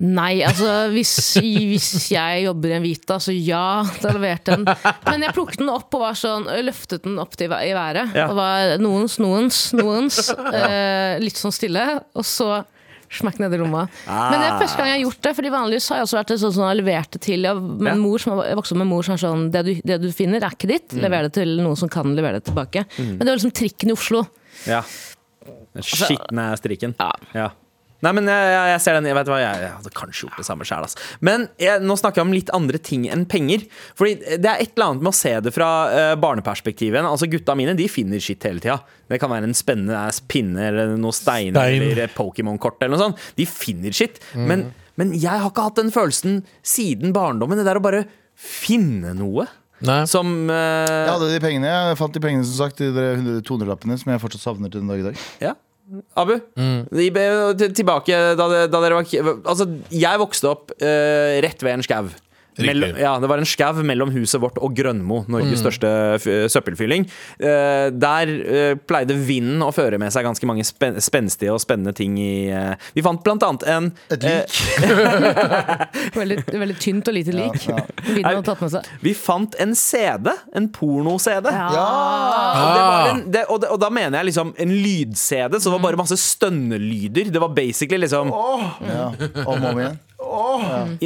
B: Nei, altså hvis, hvis jeg jobber i en Vita, så ja, da leverte jeg den. Men jeg plukket den opp og var sånn, løftet den opp til, i været.
D: Ja.
B: Og var noens, noens, noens. Eh, litt sånn stille. Og så smekk ned i lomma. Men det er første gang jeg har gjort det, Fordi vanligvis har jeg også vært en sånn som har levert det til jeg, med
D: Ja.
B: en mor som har- jeg vokste opp med en mor som er sånn det du, det du finner, er ikke ditt. Lever det til noen som kan levere det tilbake. Men det var liksom trikken i Oslo.
D: Ja. Den skitne strikken. Ja. Nei, men jeg, jeg, jeg ser den. Jeg vet hva, jeg, jeg hadde kanskje gjort det samme sjæl. Altså. Men jeg, nå snakker jeg om litt andre ting enn penger. Fordi det er et eller annet med å se det fra eh, barneperspektivet. Altså Gutta mine de finner skitt hele tida. Det kan være en spennende ass pinne eller noe stein,
A: Stein.
D: eller et Pokémon-kort eller noe sånt. De finner skitt. Men, men jeg har ikke hatt den følelsen siden barndommen. Det der å bare finne noe
A: Nei.
D: som eh,
C: Jeg hadde de pengene, jeg fant de pengene som sagt, de der 100 200-lappene som jeg fortsatt savner til den dag i dag.
D: Ja. Abu, de ble jo til- tilbake da, det- da dere var ki- Altså, jeg vokste opp eh, rett ved en skau. Mellom, ja, det var en skau mellom huset vårt og Grønmo, Norges største f søppelfylling. Eh, der eh, pleide vinden å føre med seg ganske mange spen spenstige og spennende ting i eh, Vi fant blant annet en
C: Et lik.
D: eh,
B: Veldig, veldig tynt og lite lik.
C: ja.
B: Vinden hadde tatt med seg.
D: Vi fant en CD, en porno-CD.
A: Ah.
D: Det var en, det, og, det, og da mener jeg liksom en lyd-CD, så det var bare masse stønnelyder. Det var basically liksom
C: Ja, om og om igjen.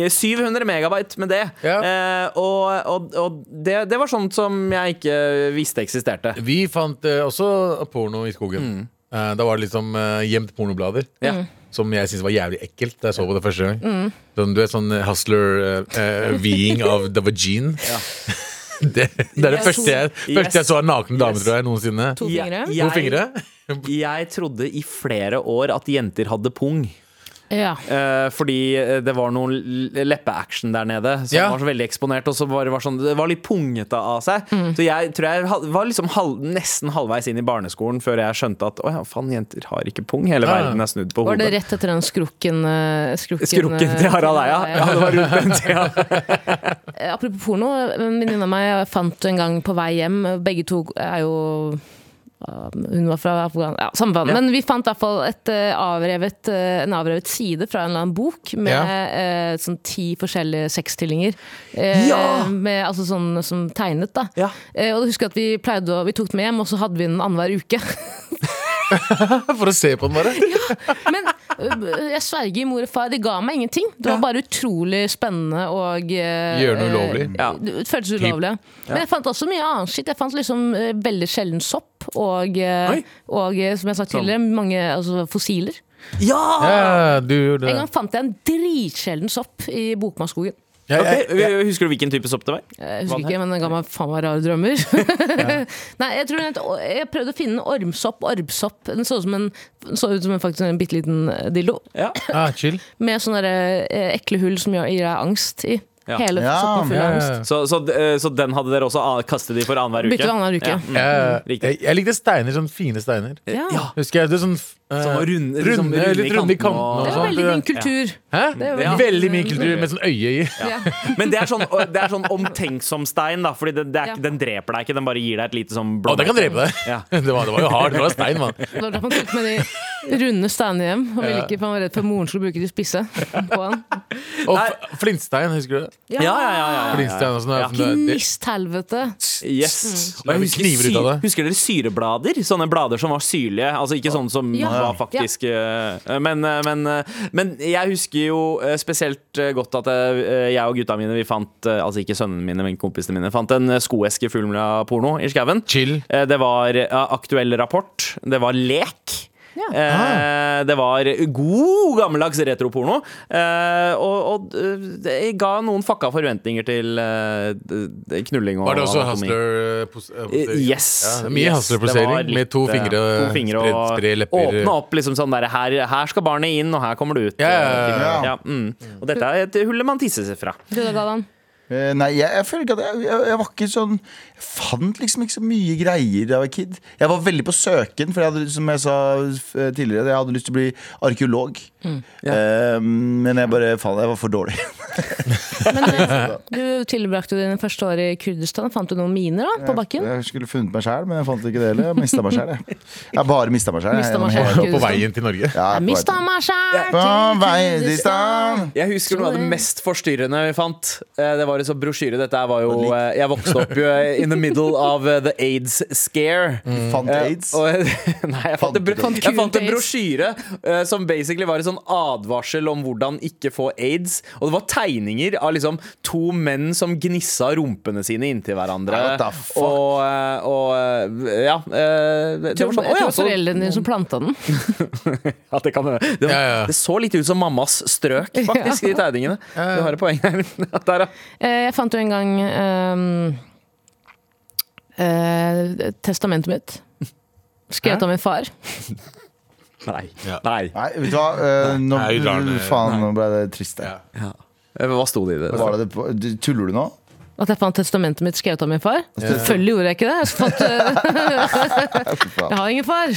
D: 700 megabyte med det.
A: Ja.
D: Eh, og og, og det, det var sånt som jeg ikke visste eksisterte.
A: Vi fant eh, også porno i skogen. Eh, da var det liksom eh, gjemt pornoblader.
D: Mm. Ja.
B: Mm.
A: Som jeg syntes var jævlig ekkelt da jeg så på det første gang. Sånn, du er sånn eh, hustler-veeing av The Vagine. [LAUGHS] det, det er det
B: Yes.
A: første jeg, første jeg så av naken dame, tror jeg, noensinne.
B: To fingre.
D: Jeg-
A: To fingre. [LAUGHS]
D: Jeg trodde i flere år at jenter hadde pung.
B: Ja.
D: Eh, fordi eh, det var noen l- leppeaction der nede som
A: Ja.
D: var så veldig eksponert. Og så bare var sånn, det var litt pungete av seg.
B: Mm.
D: Så jeg tror jeg hal- var liksom halv, nesten halvveis inn i barneskolen før jeg skjønte at å ja, faen, jenter har ikke pung. Hele
A: Ja.
D: verden er snudd på
B: Var det
D: hodet.
B: rett etter den skrukken eh, Skrukken,
D: Skrukken
B: eh,
D: til Harald Eia. Ja, det var rundt den
B: [LAUGHS]
D: tida.
B: Eh, Apropos porno, en venninne av meg fant en gang på vei hjem Begge to er jo eh, hun var fra Afghanistan ja, Samme faen.
D: Ja.
B: Men vi fant i hvert fall et, eh, avrevet, eh, en avrevet side fra en eller annen bok med
A: Ja.
B: eh, sånn ti forskjellige sexstillinger. Eh,
D: Ja!
B: med, altså sånn som tegnet, da.
D: Ja.
B: Eh, og jeg husker at vi, pleide å, vi tok den med hjem, og så hadde vi den annenhver uke. [LAUGHS]
A: For å se på den, bare.
B: Men øh, jeg sverger, mor og far, de ga meg ingenting. Det var bare utrolig spennende og eh,
A: Gjør noe ulovlig.
B: eh, Det føltes ulovlig. Men jeg fant også mye annet skitt. Jeg fant liksom eh, veldig sjelden sopp og, eh,
D: Oi.
B: og eh, som jeg sa tidligere,
A: Sånn.
B: mange altså, fossiler.
D: Ja!
A: Ja, du gjorde
B: En
A: det.
B: gang fant jeg en dritsjelden sopp i Bokmarkskogen.
A: Ja, jeg-
D: Ok, Husker du hvilken type sopp det var?
B: Jeg husker
D: Hva
B: ikke, men den ga meg faen meg rare drømmer. [LAUGHS] Nei, jeg, tror jeg, jeg prøvde å finne en ormsopp. Ormsopp. Den så ut som en, så ut som en, faktisk en bitte liten dildo.
D: Ja.
A: Ah, chill.
B: Med sånne der, eh, ekle hull som gjør, gir deg angst i.
D: Ja.
B: Hele
C: Ja,
B: soppen full
A: Ja,
B: av
A: ja,
B: angst.
A: ja.
D: Så, så, eh, så den hadde dere også ah, kastet de for annenhver uke?
B: Bytte annenhver uke.
D: Ja. Mm.
A: Jeg-
D: Riktig.
A: jeg, jeg likte steiner. Sånne fine steiner.
B: Ja.
D: Ja.
A: Husker jeg, det er sånn eh,
D: Sånn runde- liksom runde i
A: litt runde
D: kanten
A: i kantene
D: og-
A: og sånn.
B: Det var
A: sånt.
B: veldig min kultur.
A: Hæ?
B: er
D: jo
A: Veldig
B: veldig-
A: mye kultur med sånn øye i.
B: Ja.
D: Men det er sånn, det er sånn omtenksom stein, da. Fordi det, det er,
B: Ja.
D: ikke- den dreper deg ikke, den bare gir deg et lite sånn
A: Å, den kan drepe deg! [LAUGHS]
D: Ja.
A: Det, var, det var jo hard. Det var stein, mann.
B: Det var derfor man tok med de runde steinene hjem. Og ville ikke, for han var redd for at moren skulle bruke de spisse på han.
A: Og f- flintstein, husker du det?
D: Ja, ja, ja, ja, ja.
A: Flintstein og sånn.
D: Ja.
A: det- det-
B: Gnisthelvete.
D: Yes.
A: Mm.
D: Og jeg husker,
A: Kniver ut av
D: sy-
A: det.
D: husker dere syreblader? Sånne blader som var syrlige. Altså ikke sånne som
B: Ja.
D: var faktisk eh, men, eh, men, eh, men jeg husker jo eh, spesielt eh, godt at eh, jeg og gutta mine, vi fant eh, Altså ikke sønnene mine, men kompisene mine, fant en eh, skoeske full av porno i skauen.
A: Chill.
D: Eh, Det var eh, aktuell rapport. Det var lek.
B: Ja.
D: Eh, det var god, gammeldags retroporno. Eh, og og eh, det ga noen fucka forventninger til eh, d- d- knulling og
A: Var det også
D: anatomi.
A: hustler eh, pos- eh, posering?
D: yes,
A: Ja, det er mye
D: yes, det
A: hustler-posering
D: var
A: med to
D: litt, eh,
A: fingre,
D: to fingre og
A: spre, spre lepper.
D: Åpne opp liksom sånn der her, her skal barnet inn, og her kommer det ut. eh,
A: Ja, ja, ja,
C: ja.
D: Ja, mm. Og dette er et hull man tisser seg fra.
B: Du da, Galvan?
C: Eh, Nei, jeg, jeg føler ikke at jeg, jeg, jeg var ikke sånn Jeg fant liksom ikke så mye greier da jeg var kid. Jeg var veldig på søken, for jeg hadde, som jeg sa f- eh,
B: Mm,
C: tidligere, jeg hadde lyst til å bli arkeolog. Eh, men jeg bare faen, jeg var for dårlig.
B: Men
C: [LAUGHS]
B: eh, du tilbrakte jo dine første år i Kurdistan. Fant du noen miner da, på bakken?
C: Jeg skulle funnet meg sjæl, men jeg fant ikke det heller. Jeg mista meg sjæl, jeg. Jeg bare mista meg sjæl.
B: Mistet meg selv.
A: eh, På veien til Norge.
C: Ja,
B: Jeg mista meg sjæl
C: På vei til stan.
D: Jeg husker noe av det mest forstyrrende vi fant. Eh, Det var liksom brosjyre. Dette her var jo eh, Jeg vokste opp jo eh, in the middle of eh, the AIDS scare.
C: Fant
D: Eh,
C: Mm. aids.
D: Og, [LAUGHS] nei, jeg fant, en bro-
C: Fant
D: jeg fant en
B: aids.
D: brosjyre eh, som basically var en sånn advarsel om hvordan ikke få aids. Og det var tegninger av liksom to menn som gnissa rumpene sine inntil hverandre.
C: Nei, what the fuck?
D: Og, eh, og eh, ja. eh, det- det
B: Jeg
D: var sånn, «Å ja,
B: tror
D: så-
B: foreldrene dine som planta den.
D: ja, det, kan, det, det,
A: Ja, ja.
D: det så litt ut som mammas strøk, faktisk, i de tegningene. Du har et poeng her. [LAUGHS] Der, ja.
B: Eh, Jeg fant jo en gang ehm, eh, testamentet mitt. Skrevet av min far.
D: Nei. Nei.
C: Nei, vet du hva? Eh, Nå,
A: Nei, vi drar den.
C: faen, nå ble det trist. jeg.
D: Eh, Hva sto det i det?
C: Var det det på, du- tuller
D: [LAUGHS]
C: du nå?
B: At jeg fant testamentet mitt skrevet av min far. Selvfølgelig gjorde jeg ikke det. Jeg, fant, eh, [LAUGHS] jeg har ingen far.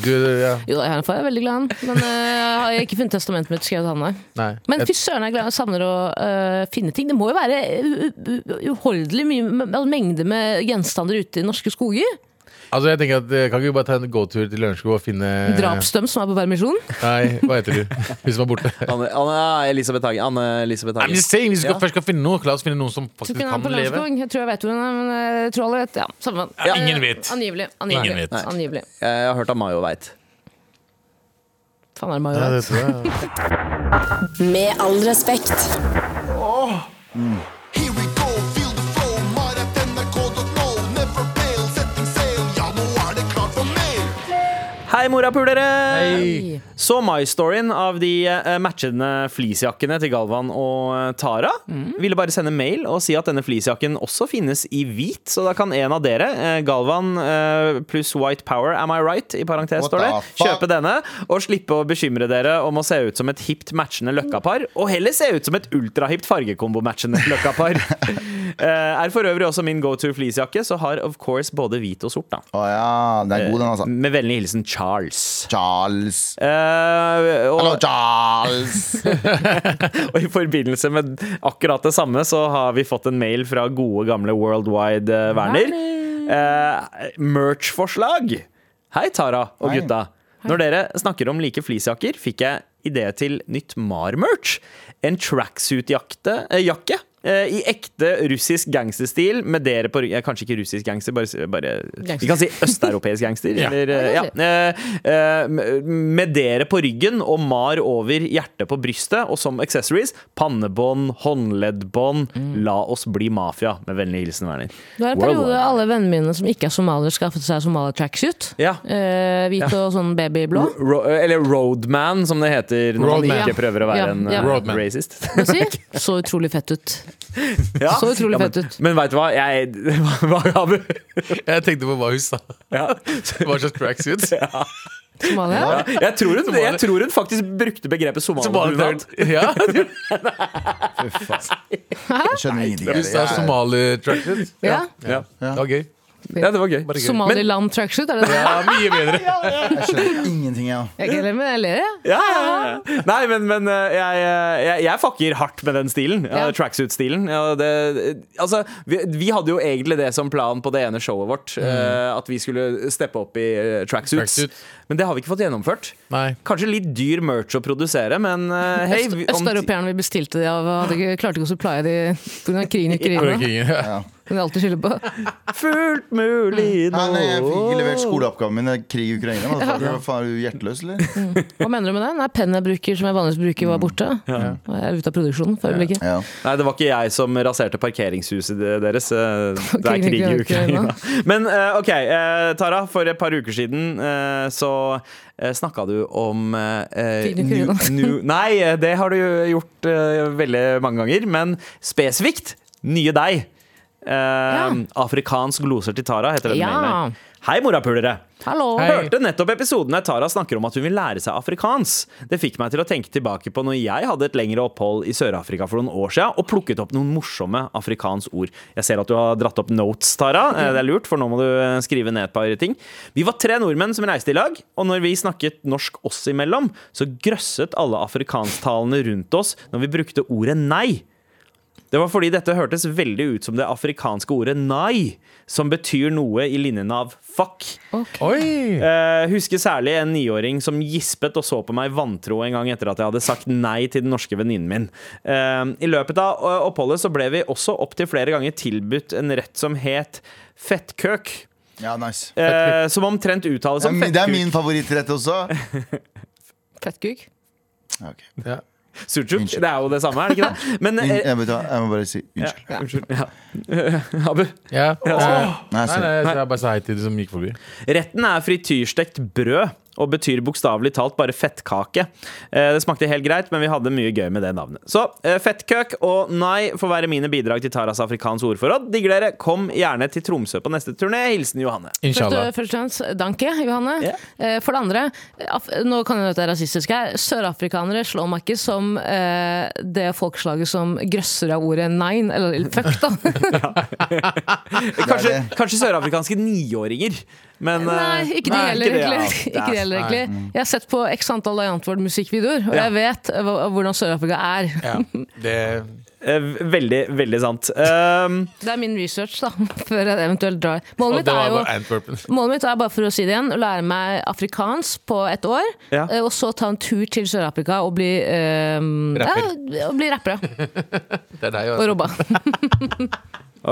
A: Gud, ja.
B: Jo da, jeg har en far, jeg er veldig glad i han. Men eh, jeg har ikke funnet testamentet mitt skrevet av han, nei.
A: Nei.
B: Men fy søren, jeg gleder- jeg savner å øh, finne ting. Det må jo være eh, u- u- uhorvelig mye med- mengde med gjenstander ute i norske skoger.
A: Altså, jeg tenker at eh, Kan ikke vi bare ta en gåtur til Lørenskog og finne
B: Drapsdømt som er på permisjon.
A: [LAUGHS] Nei, hva
D: [LAUGHS]
A: heter du? Hun som er borte.
D: Anne, Anne Elisabeth Hagen. Anne Elisabeth
A: I'm
D: Hagen.
A: just saying, Hvis vi skal,
D: Ja.
A: først skal finne noe, la oss finne noen som
B: Så
A: faktisk
B: kunne han
A: kan
B: på
A: leve.
B: Lørenskog. Jeg tror jeg vet hvor hun er, men jeg tror alle vet. Ja, samme.
A: Ja,
B: Eh,
A: ingen vet.
B: Angivelig. angivelig.
A: Ingen vet.
B: Nei. angivelig.
D: Jeg har hørt av Mayo veit.
B: Faen er det meg
A: Ja,
B: jo
A: det
B: vet.
A: tror jeg.
E: Med all respekt.
H: Here we go, feel the flow. Maratnrk.no, never fail. Setting sail, ja, nå er det klart for mer.
D: Hei, morapulere!
A: Hei.
D: Så My-storyen av de eh, matchende fleecejakkene til Galvan og eh, Tara. Ville bare sende mail og si at denne fleecejakken også finnes i hvit, så da kan en av dere, eh, Galvan eh, pluss White Power, am I right, i parentes
C: What
D: står det,
C: the fuck?
D: kjøpe denne og slippe å bekymre dere om å se ut som et hipt matchende løkkapar, og heller se ut som et ultrahipt fargekombo-matchende
C: [LAUGHS]
D: løkkapar. Eh, er for øvrig også min go-to fleecejakke, så har of course både hvit og sort, da.
C: Å ja, den er god, den, altså.
D: Med vennlig hilsen Charles.
C: Charles.
D: Eh, og,
C: Hallo, Charles!
D: [LAUGHS] og i forbindelse med akkurat det samme, så har vi fått en mail fra gode, gamle Worldwide eh, Werner. Eh, Merch-forslag! Hei, Tara og
C: Hei.
D: gutta. Når dere snakker om like fleecejakker, fikk jeg idé til nytt Mar-merch. En tracksuit-jakke eh, jakke, eh, i ekte russisk gangsterstil med dere på ryggen. Kanskje ikke russisk gangster, bare, s- bare Vi kan si
C: [LAUGHS]
D: østeuropeisk gangster. eller, eh, ja. Eh, eh, med dere på ryggen og mar over hjertet på brystet, og som accessories pannebånd, håndleddbånd. La oss bli mafia. Med vennlig hilsen Werner.
B: Det var Mm. en
D: Worldwide.
B: periode alle vennene mine som ikke er somaliere, skaffet seg somalier-tracksuit.
D: Ja.
B: Eh, hvit og sånn babyblå.
D: Ro eller Roadman, som det heter når man
A: Roadman.
D: ikke prøver å være
B: Ja,
D: en
B: ja.
D: eh,
A: Roadman.
D: racist. [LAUGHS]
B: Må jeg si. Så utrolig fett ut.
D: Ja.
B: Så utrolig
D: men,
B: fett ut.
D: Men veit du hva? Jeg [LAUGHS] hva- Hva Abu?
A: Jeg tenkte på hva hun sa.
D: Ja. [LAUGHS]
A: Hva slags tracksuit?
B: Somalia.
D: Jeg, tror hun, jeg tror hun faktisk brukte begrepet somalier.
A: Ja,
C: Jeg skjønner ingenting.
A: du
C: jeg.
A: sa
C: Jeg-
A: somali-tracksuit.
B: Ja.
D: Ja.
A: Det var gøy.
D: ja, det var gøy.
A: Bare gøy.
B: Somaliland tracksuit, er det det?
A: Ja, mye bedre.
C: Jeg skjønner ingenting, jeg.
B: Jeg kan glemme det, jeg ler, jeg.
D: Ja, ja, ja. Nei, men, men eh, jeg, eh, jeg, jeg fucker hardt med den stilen. Ja,
B: Ja.
D: Tracksuit-stilen. Ja, det- altså, vi, vi hadde jo egentlig det som plan på det ene showet vårt. eh, at vi skulle steppe opp i eh, tracksuits.
A: Tracksuit.
D: Men det har vi ikke fått gjennomført.
A: Nei.
D: Kanskje litt dyr merch å produsere, men
B: [LAUGHS]
D: eh, hei vi- om-
B: Østeuropeerne vi bestilte de av, hadde ikke, klarte ikke å supplye de pga. krigen i Ukraina.
A: Ja.
B: Kunne alltid skylde på.
D: Fullt mulig
C: Nei, nei, jeg eh, fikk ikke
D: nå.
C: levert skoleoppgaven min. Det er krig i Ukraina. hva faen, hva faen, er du hjerteløs, eller?
B: Hva mener du med det? Nei, Pennen jeg bruker som jeg vanligvis bruker, var borte. Og jeg er ute av produksjonen for øyeblikket.
C: Ja.
D: Nei, det var ikke jeg som raserte parkeringshuset de- deres.
B: [LAUGHS]
D: eh, Det er
B: Krigen
D: krig i
B: i Ukraina.
D: Ukraina. [LAUGHS] Men eh, OK, eh, Tara. For et par uker siden eh, så eh, snakka du om eh, eh,
B: Krigen i Ukraina.
D: nu-
B: [LAUGHS]
D: nu- Nei, eh, det har du jo gjort eh, veldig mange ganger. Men spesifikt nye deg. Eh, Afrikansk gloser til Tara heter denne
B: Ja.
D: mailen. her. Hei, morapulere!
B: Hallo.
A: Hei.
D: Hørte nettopp episodene Tara snakker om at hun vil lære seg afrikansk. Det fikk meg til å tenke tilbake på når jeg hadde et lengre opphold i Sør-Afrika for noen år siden og plukket opp noen morsomme afrikansk ord. Jeg ser at du har dratt opp notes, Tara. Eh, Det er lurt, for nå må du eh, skrive ned et par ting. Vi var tre nordmenn som reiste i lag, og når vi snakket norsk oss imellom, så grøsset alle afrikansktalende rundt oss når vi brukte ordet nei. Det var fordi dette hørtes veldig ut som det afrikanske ordet nai, som betyr noe i linjen av fuck.
A: Oi!
D: Eh, husker særlig en niåring som gispet og så på meg vantro en gang etter at jeg hadde sagt nei til den norske venninnen min. Eh, I løpet av eh, oppholdet så ble vi også opptil flere ganger tilbudt en rett som het fettkøk.
C: Ja, nice.
D: eh, som omtrent uttales
C: Det er
D: som
C: min- det er
D: fettkuk.
C: min favorittrett også.
B: Fettkuk.
C: Ja, ok.
A: Ja.
D: Surtsjuk. Det er jo det samme, er det ikke det? Men
C: In,
D: eh,
C: jeg, vet, hva, jeg må bare si unnskyld.
D: ja, Unnskyld. Ja. [LAUGHS] Eh, Abu.
A: Ja.
C: Nei,
A: Nei,
C: sorry.
A: nei, så jeg bare sa hei til de som gikk forbi.
D: Retten er frityrstekt brød og betyr bokstavelig talt bare fettkake. Eh, Det smakte helt greit, men vi hadde mye gøy med det navnet. Så eh, fettkøk og nei får være mine bidrag til Taras afrikanske ordforråd. Digger dere. Kom gjerne til Tromsø på neste turné. Hilsen Johanne.
B: Først,
A: Inshallah.
B: og- først og fremst, eh, danke, Johanne.
D: Ja.
B: Eh, For det andre, af nå kan jeg høre at det er rasistisk her, sørafrikanere slår meg ikke som eh, det folkeslaget som grøsser av ordet nein, eller fuck, da.
D: Kanskje,
C: det.
D: kanskje sørafrikanske niåringer, men eh,
B: Nei, ikke det heller,
D: ikke det, ja.
B: egentlig. Ikke det heller, egentlig. Jeg har sett på x antall Diantword musikkvideoer, og
D: Ja.
B: jeg vet eh, hva- hvordan Sør-Afrika er.
A: Ja. Det
D: Eh, Veldig, veldig sant. Um,
B: Det er min research, da, [LAUGHS] før jeg eventuelt drar. Målet
A: Og
B: mitt
A: det
B: er
A: var
B: jo
A: bare Antwerpen.
B: Målet mitt er bare for å si det igjen, å lære meg afrikansk på et år.
D: Ja.
B: eh, Og så ta en tur til Sør-Afrika og bli eh, Ja, og bli rappere.
A: Det er deg,
B: Og
A: altså.
B: robba.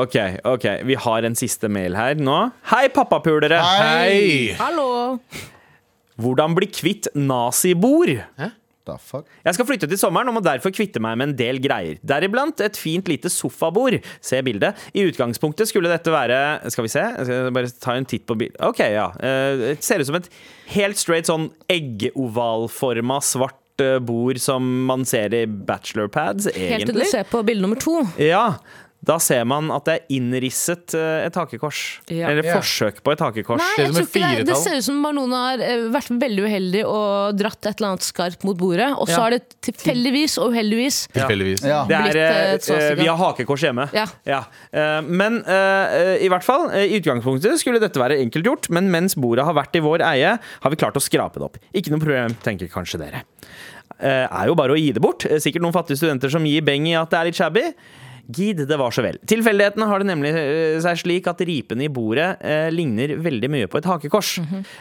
D: ok, ok. Vi har en siste mail her nå. Hei, pappapulere!
A: Hei!
B: Hallo!
D: Hvordan bli kvitt nazibord?
C: Da, fuck.
D: Jeg skal flytte til sommeren og må derfor kvitte meg med en del greier. Deriblant et fint lite sofabord. Se bildet. I utgangspunktet skulle dette være Skal vi se? Jeg skal bare ta en titt på bildet. Ok, ja. Eh, Det ser ut som et helt straight sånn eggovalforma svart eh, bord som man ser i bachelorpads,
B: Helt til du
D: egentlig.
B: ser på bilde nummer to.
D: Ja, da ser man at det er innrisset eh, et hakekors.
B: Ja.
D: Eller
A: Ja.
D: forsøk på et hakekors.
B: Nei,
A: Ser
B: jeg
A: ut som
B: tror
A: et
B: ikke det, det
A: firetall.
B: ser ut som bare noen har eh, vært veldig uheldig og dratt et eller annet skarpt mot bordet, og så
A: Ja.
B: har det tilfeldigvis og uheldigvis
A: Tilfeldigvis.
C: Ja.
D: Det er,
B: Blitt, eh,
D: eh,
B: et svastika.
D: eh, vi har hakekors hjemme.
B: Ja.
D: Eh, men eh, eh, i hvert fall, eh, i utgangspunktet skulle dette være enkelt gjort, men mens bordet har vært i vår eie, har vi klart å skrape det opp. Ikke noe problem, tenker kanskje dere. Eh, er jo bare å gi det bort. Eh, Sikkert noen fattige studenter som gir beng i at det er litt shabby. Gid, det var så vel. Tilfeldighetene har det nemlig eh, seg slik at ripene i bordet eh, ligner veldig mye på et hakekors.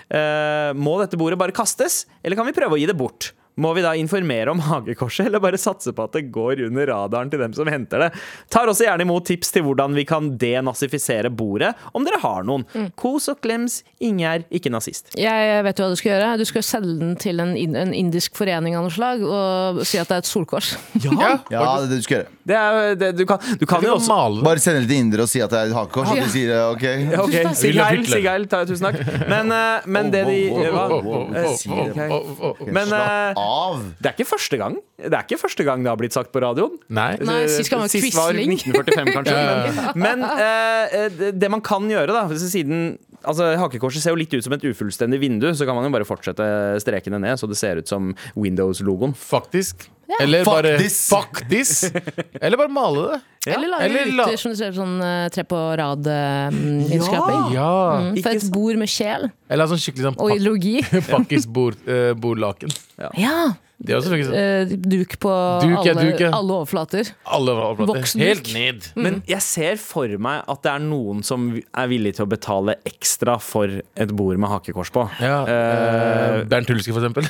D: Eh, må dette bordet bare kastes, eller kan vi prøve å gi det bort? Må vi da informere om hagekorset, eller bare satse på at det går under radaren til dem som henter det? Tar også gjerne imot tips til hvordan vi kan denazifisere bordet, om dere har noen. Kos og klems, Ingjerd, ikke nazist.
B: Jeg vet jo hva du skal gjøre. Du skal selge den til en, in- en indisk forening av noe slag og si at det er et solkors.
A: Ja.
C: Ja, det er det du skal gjøre.
D: Det er, det, du, kan, du kan jo
A: Kan du
D: også
A: male det?
C: Bare send det til indere og si at det er et hakekors. og De sier det, ok.
D: Ok,
B: Tusen takk.
D: Sig
A: William
D: Heil,
A: Hitler.
D: Sig Heil, ta- tusen takk. Men, eh, men det de
C: Wow,
A: oh,
C: wow, wow,
D: hva?
C: wow, wow.
D: Eh,
C: Sier det.
D: ok.
A: Å, å, å.
D: Men eh,
C: Slapp av!
D: det er ikke første gang Det er ikke første gang det har blitt sagt på radioen.
A: Nei.
B: Nei, sist gang var det
D: Sist var
B: Quisling.
D: 1945, kanskje.
A: Ja.
D: Men, men eh, det- det man kan gjøre, da siden Altså, Hakekorset ser jo litt ut som et ufullstendig vindu, så kan man jo bare fortsette strekene ned, så det ser ut som Windows-logoen.
A: Faktisk. Eller bare
C: Faktisk.
A: Faktisk! Eller bare male det.
B: Eller lage
A: Eller la-
B: ruter som du ser sånn eh, tre på eh, rad-innskraping.
A: Ja.
B: Mm, For
D: Ikke
B: et
D: sant.
B: bord med sjel
A: Mm. Eller sånn skikkelig sånn
B: og
A: pak eh,
B: ideologi.
A: [LAUGHS] pakkis-bordlaken.
B: [LAUGHS] Ja!
A: Det er også faktisk sånn.
B: eh, Duk på
A: Duk, ja,
B: alle,
A: duk, ja.
B: alle overflater.
A: Alle var overflater.
B: Voksduk.
A: Helt ned.
D: Men jeg ser for meg at det er noen som er villig til å betale ekstra for et bord med hakekors på.
A: Ja, eh, Bernt Hulske, for eksempel.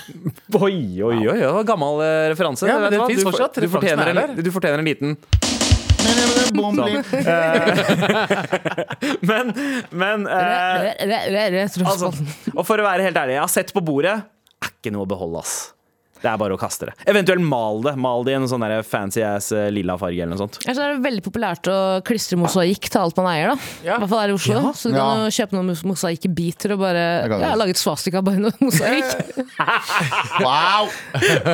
D: Oi, oi, oi, det var gammel eh, referanse.
A: Ja, men
D: Vet
A: det
D: du hva?
A: finnes
D: Du for-
A: fortsatt.
D: Du
A: Referansen
D: fortjener,
A: er
D: en, du fortjener en liten
C: Bom, bom.
D: Men, men eh,
B: Rød, rød, rød, rød, rød,
D: altså,
B: trossbånd.
D: Og for å være helt ærlig, jeg har sett på bordet. Er ikke noe å beholde, ass. Det er bare å kaste det. Eventuelt mal det. Mal det i en sånn der fancy ass eh, lilla farge eller noe sånt.
B: Ellers er det veldig populært å klistre mosaikk til alt man eier. da I hvert fall her i Oslo. Så du kan
C: Ja.
B: jo kjøpe noen mos- mosaikkbiter og bare
C: kan
B: ja,
C: det.
B: lage et svastika bare i noe
A: [LAUGHS]
B: mosaikk.
C: Wow!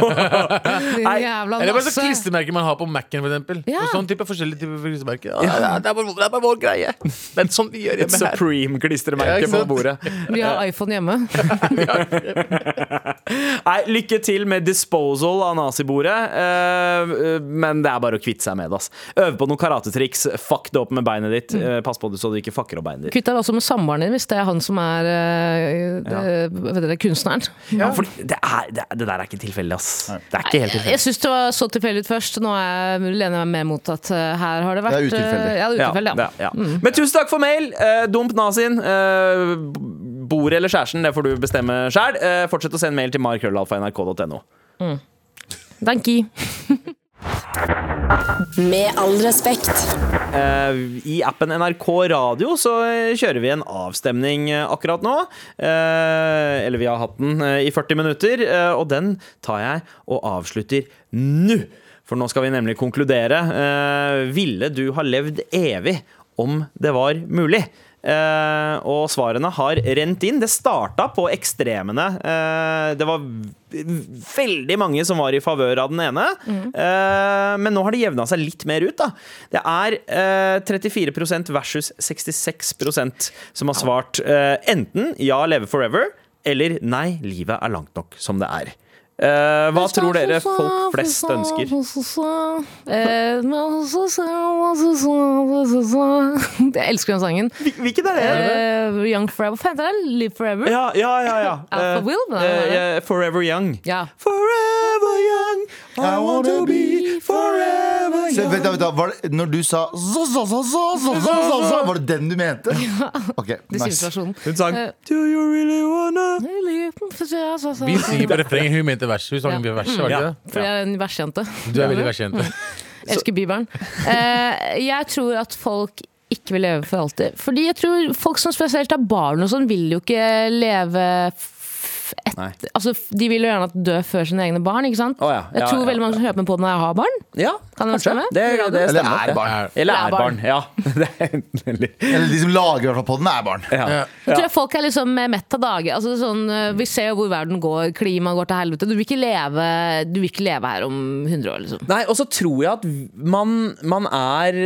B: Din jævla
A: Eller bare så
B: nasse.
A: klistremerker man har på Mac-en, for eksempel.
B: Ja.
A: Og Sånn type forskjellige typer klistremerker. Ja, det, er- det, er bare, det er bare vår greie. Det er sånn vi
D: Et
A: gjør hjemme her. Ja,
D: Supreme-klistremerke
A: ikke
D: på
A: sant?
D: bordet.
B: Vi har iPhone hjemme.
D: Nei, lykke til med disposal av nazibordet. eh, eh, men det er bare å kvitte seg med det. ass. Øve på noen karatetriks. Fuck det opp med beinet ditt.
A: Mm.
D: Eh, pass på det så du ikke fucker opp beinet ditt.
B: Kvitt deg også med samboeren din, hvis det er han som er eh, det- vet dere, kunstneren.
D: Ja, for det, er, det, er- det der er ikke tilfeldig, ass. Det er ikke
B: Jeg
D: helt tilfeldig.
B: syns det var så tilfeldig ut først. Nå er jeg, lener jeg meg mer mot at eh, her har det vært
C: Det er utilfeldig.
B: eh, Ja, det er
D: Ja,
B: utilfeldig, ja.
D: ja, ja. Men tusen takk for mail! Eh, dump nazien. Eh, b- bordet eller kjæresten, det får du bestemme sjæl. Eh, fortsett å sende mail til markrøllalfa.nrk.no.
B: Thank you.
E: Med all respekt.
D: Eh, I appen NRK Radio så eh, kjører vi en avstemning eh, akkurat nå. Eh, Eller vi har hatt den eh, i 40 minutter, eh, og den tar jeg og avslutter nå. For nå skal vi nemlig konkludere. Eh, Ville du ha levd evig om det var mulig? Eh, og svarene har rent inn. Det starta på ekstremene. Eh, det var v- veldig mange som var i favør av den ene. Eh, men nå har det jevna seg litt mer ut. da Det er eh, 34 versus 66 som har svart eh, enten ja, leve forever, eller nei, livet er langt nok som det er. Eh, hva tror dere folk flest ønsker?
B: Eh, [LAUGHS] Jeg elsker den sangen.
D: Hvilken er det?
B: Eh, Young Forever. Hva heter den? Live Forever?
D: Ja, ja, ja. ja.
B: Alpha
D: Eh,
B: Will, hva er det?
D: eh, Forever Young.
B: Ja.
D: Forever young, I want to be forever
C: Se,
D: young.
C: vent, da, vent, da. Var det, når du sa så, så, så, så, så, så, så, så, Var det den du mente? Ok, nice.
B: Distriktsversjonen.
D: Hun sang
B: Eh,
D: Do you really wanna
A: Vi synger på refrenget. Hun mente verset. Hun sang
B: Ja.
A: verset, var det ikke
D: Ja.
A: det?
B: For jeg er en versjente.
A: Du er veldig versjente. [LAUGHS]
B: Elsker
D: [LAUGHS]
B: Bibelen. Eh, jeg tror at folk ikke vil leve for alltid. Fordi jeg tror folk som spesielt er barn og sånn, vil jo ikke leve f- et,
D: Nei.
B: altså, De vil jo gjerne at dø før sine egne barn, ikke sant?
D: Å ja,
B: jeg
D: ja,
B: tror
D: ja,
B: veldig mange som hører meg på når jeg har barn.
D: Ja,
B: Kan det stemme?
D: Det, det
C: Eller
D: stemmer.
C: er barn.
A: Her.
D: Eller
B: Eller
D: er
B: er
D: barn. Ja. [LAUGHS] Det er enten eller.
C: Eller de som lager i hvert fall podden, er barn.
D: Ja.
B: Jeg tror jeg folk er liksom eh, mett av dage. Altså, det er sånn, eh, vi ser jo hvor verden går, klimaet går til helvete. Du vil ikke leve, du vil ikke leve her om 100 år, liksom.
D: Nei, og så tror jeg at man, man er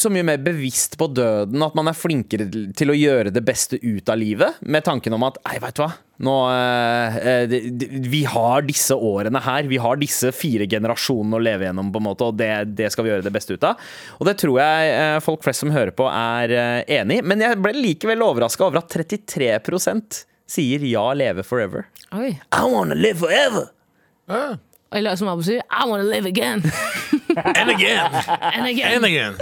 D: så mye mer bevisst på døden at man er flinkere til- til å gjøre det beste ut av livet, med tanken om at Nei, veit du hva. Nå, eh, eh, det- det- vi har disse årene her. Vi har disse fire generasjonene å leve gjennom, på en måte, og det, det skal vi gjøre det beste ut av. Og det tror jeg eh, folk flest som hører på, er eh, enig i. Men jeg ble likevel overraska over at 33 sier ja, leve forever.
B: Oi.
D: I wanna live forever!
B: Eller som Abu sier, I wanna live again.
A: And again!
D: [LAUGHS]
B: And
A: And
B: again.
A: again!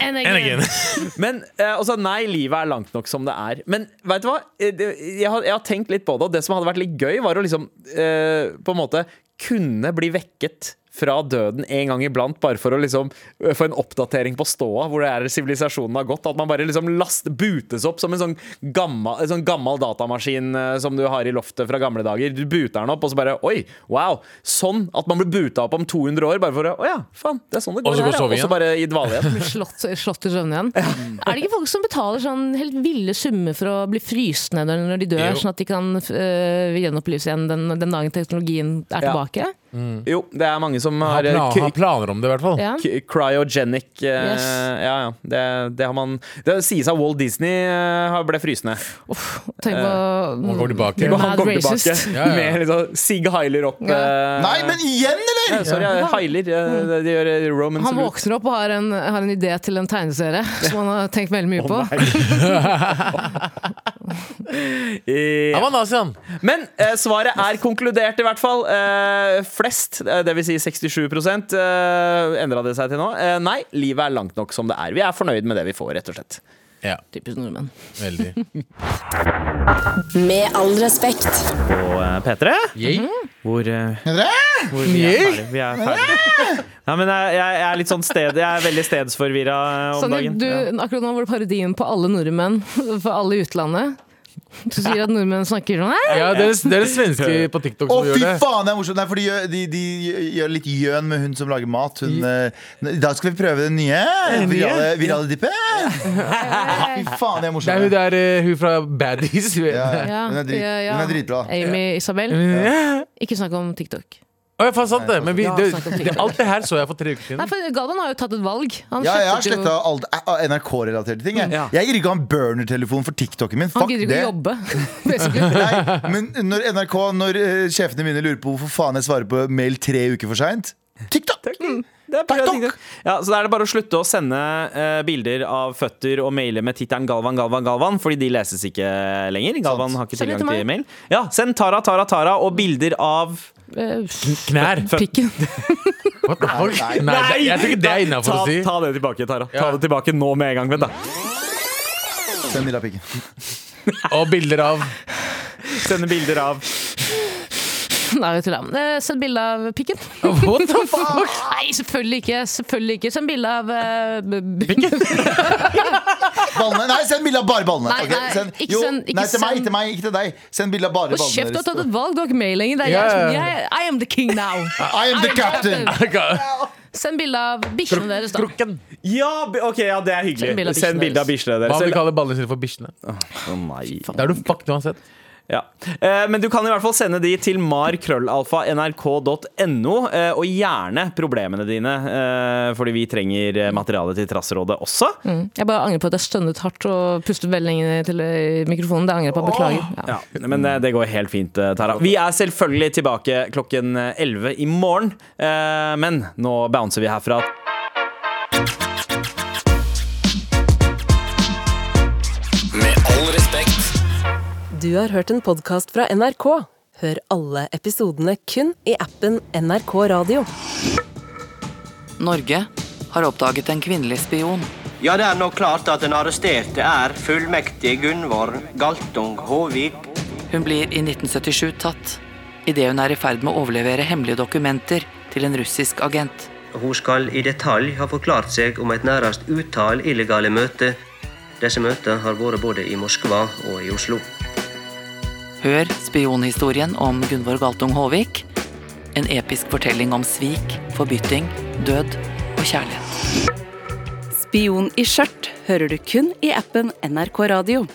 B: And
A: And
B: again.
A: again.
D: Men eh, altså, nei, livet er langt nok som det er. Men vet du hva? Eh, det- Jeg har, jeg har tenkt litt på det, og det som hadde vært litt gøy, var å liksom eh, på en måte kunne bli vekket fra døden en gang iblant, bare for å liksom eh, få en oppdatering på ståa, hvor det er sivilisasjonen har gått. At man bare liksom last, butes opp som en sånn gammel, en sånn gammel datamaskin eh, som du har i loftet fra gamle dager. Du buter den opp, og så bare Oi, wow! Sånn at man blir buta opp om 200 år, bare for å Å ja, faen, det er sånn det går.
A: Og så
D: her,
A: går
D: ja."
A: sovingen.
D: Og så bare i dvale igjen.
B: Blir Slått, slått i søvne igjen. Er det ikke folk som betaler sånn helt ville summer for å bli fryst ned når de dør,
A: Jo.
B: sånn at de kan øh, gjenopplives igjen den, den dagen teknologien er
D: Ja.
B: tilbake?
D: Jo, det er mange som
A: Har
D: har eh,
A: plan-
D: k-
A: har planer om det, i hvert fall.
B: Ja.
D: k- Cryogenic eh,
B: Yes.
D: Ja, ja. Det, det har man Det sies at Walt Disney eh, har- ble frysende.
B: Tenk på
A: Man Eh, går tilbake.
B: Mad
D: Han kom tilbake [LAUGHS]
B: racist.
A: Ja, ja.
D: med liksom Sig Hyler opp. eh,
C: Nei, men igjen, eller?!
D: eh, Sorry, eh, Hyler. eh, det- Det gjør eh, Roman
B: Mm. Han
D: Salute.
B: våkner opp og har en, har en idé til en tegneserie som han har tenkt veldig mye på.
A: Han
D: Eh,
A: var nazi, han.
D: Men eh, svaret er konkludert, i hvert fall. Eh, flest, eh, dvs. Si 67 eh, endra det seg til nå. Eh, nei, livet er langt nok som det er. Vi er fornøyd med det vi får, rett og slett.
A: Ja,
B: Typisk nordmenn.
A: veldig.
E: Med all respekt.
D: Og eh, P3,
A: Yay.
D: hvor eh,
C: Dere?
D: Hvor vi er ferdige. Vi er ferdige. Ja, men jeg, jeg, jeg er litt sånn sted Jeg er veldig stedsforvirra eh, om
B: Sandeep,
D: dagen.
B: du, akkurat nå var det parodien på alle nordmenn for alle i utlandet. Du sier at nordmenn snakker sånn her?
A: Ja, dere, dere [LAUGHS] svensker på TikTok
C: Å,
A: som
C: fy
A: gjør det.
C: faen, det er morsomt! Nei, for de gjør, de, de gjør litt gjøn med hun som lager mat. Hun, eh, I dag skal vi prøve den nye virale, virale dippen! Fy faen, det er
A: Det er hun
C: morsomt.
A: der, eh, hun fra Baddies. Hun-
C: Ja,
B: Ja,
C: hun, er drit,
B: ja, ja.
C: hun er dritbra.
B: Amy Isabel.
A: Ja.
B: Ikke snakk om TikTok.
A: Å, ja, faen sant det. Men vi,
B: Ja,
A: det,
B: snakk om
A: det,
B: TikTok.
A: alt det her så jeg for tre uker
B: Nei,
A: siden.
B: for Galvan har jo tatt et valg. Han
C: Ja, jeg har
B: slettet jo-
C: sletta alt eh, NRK-relaterte ting. Jeg,
D: Ja.
C: jeg gidder ikke å ha en burner-telefon for TikToken min.
B: Han
C: Fuck
B: gidder ikke
C: det.
B: å jobbe. [LAUGHS] basically.
C: Nei, men når NRK, når eh, sjefene mine lurer på hvorfor faen jeg svarer på mail tre uker for seint TikTok!
D: Det er på grunn av
C: TikTok.
D: TikTok. Ja, så da er det bare å slutte å sende eh, bilder av føtter og maile med tittelen Galvan, Galvan, Galvan, fordi de leses ikke lenger. Galvan har ikke
B: Send det
D: tilgang
B: til
D: til mail. Ja, send Tara, Tara, Tara og bilder av
B: Eh,
A: Knær.
B: Pikken. [LAUGHS]
A: What the fuck? Nei, det, jeg tror ikke det er innafor
D: ta,
A: å si.
D: ta det tilbake, Tara. Ta
A: Ja.
D: det tilbake nå med en gang. Vent, da.
C: Send Nilla pikken.
A: Og bilder av
D: Sende bilder av
B: Nei, jeg tuller. Eh, Send bilde av pikken.
A: What
B: [LAUGHS]
A: the fuck?
B: Nei, selvfølgelig ikke. Selvfølgelig ikke. Send bilde av eh, b- b- [LAUGHS]
C: Ballene. Nei, send bilde av bare ballene.
B: Nei,
C: Ok,
B: nei,
C: send,
B: ikke
C: jo,
B: send- ikke
C: nei, til meg,
B: send-
C: til meg, ikke til deg. Send bilde av bare
B: Hold kjeft, du har tatt
C: ballene.
B: et valg. Du har ikke mail lenger. Det er jeg som-
A: Ja.
B: jeg- I am the king now.
A: [LAUGHS]
C: I am the captain!
B: Send bilde av bikkjene deres, da.
A: Krukken.
D: Ja, bi- ok, ja, det
B: Send bilder
D: er
B: av
D: hyggelig. Send
B: bikkjene
D: bilde av bislene
A: Hva om vi
D: deres.
A: kaller ballene sine for bikkjene?
D: Å, nei.
A: Da er du fucked uansett.
D: Ja. Eh, Men du kan i hvert fall sende de til markrøllalfa.nrk.no, eh, og gjerne problemene dine, eh, fordi vi trenger eh, materiale til Trassrådet også.
B: Jeg bare angrer på at jeg stønnet hardt og pustet veldig lenge til eh, mikrofonen. Det angrer jeg på. Beklager. Ja.
D: Ja, men det, det går helt fint, eh, Tara. Vi er selvfølgelig tilbake klokken 11 i morgen, eh, men nå bouncer vi herfra.
E: Du har hørt en podkast fra NRK. Hør alle episodene kun i appen NRK Radio.
I: Norge har oppdaget en kvinnelig spion.
J: Ja, det er nå klart at den arresterte er fullmektig Gunvor Galtung Håvik.
I: Hun blir i 1977 tatt idet hun er i ferd med å overlevere hemmelige dokumenter til en russisk agent.
J: Hun skal i detalj ha forklart seg om et nærmest utall illegale møter. Disse møtene har vært både i Moskva og i Oslo.
I: Hør spionhistorien om Gunvor Galtung Håvik. En episk fortelling om svik, forbytting, død og kjærlighet.
K: Spion i skjørt hører du kun i appen NRK Radio.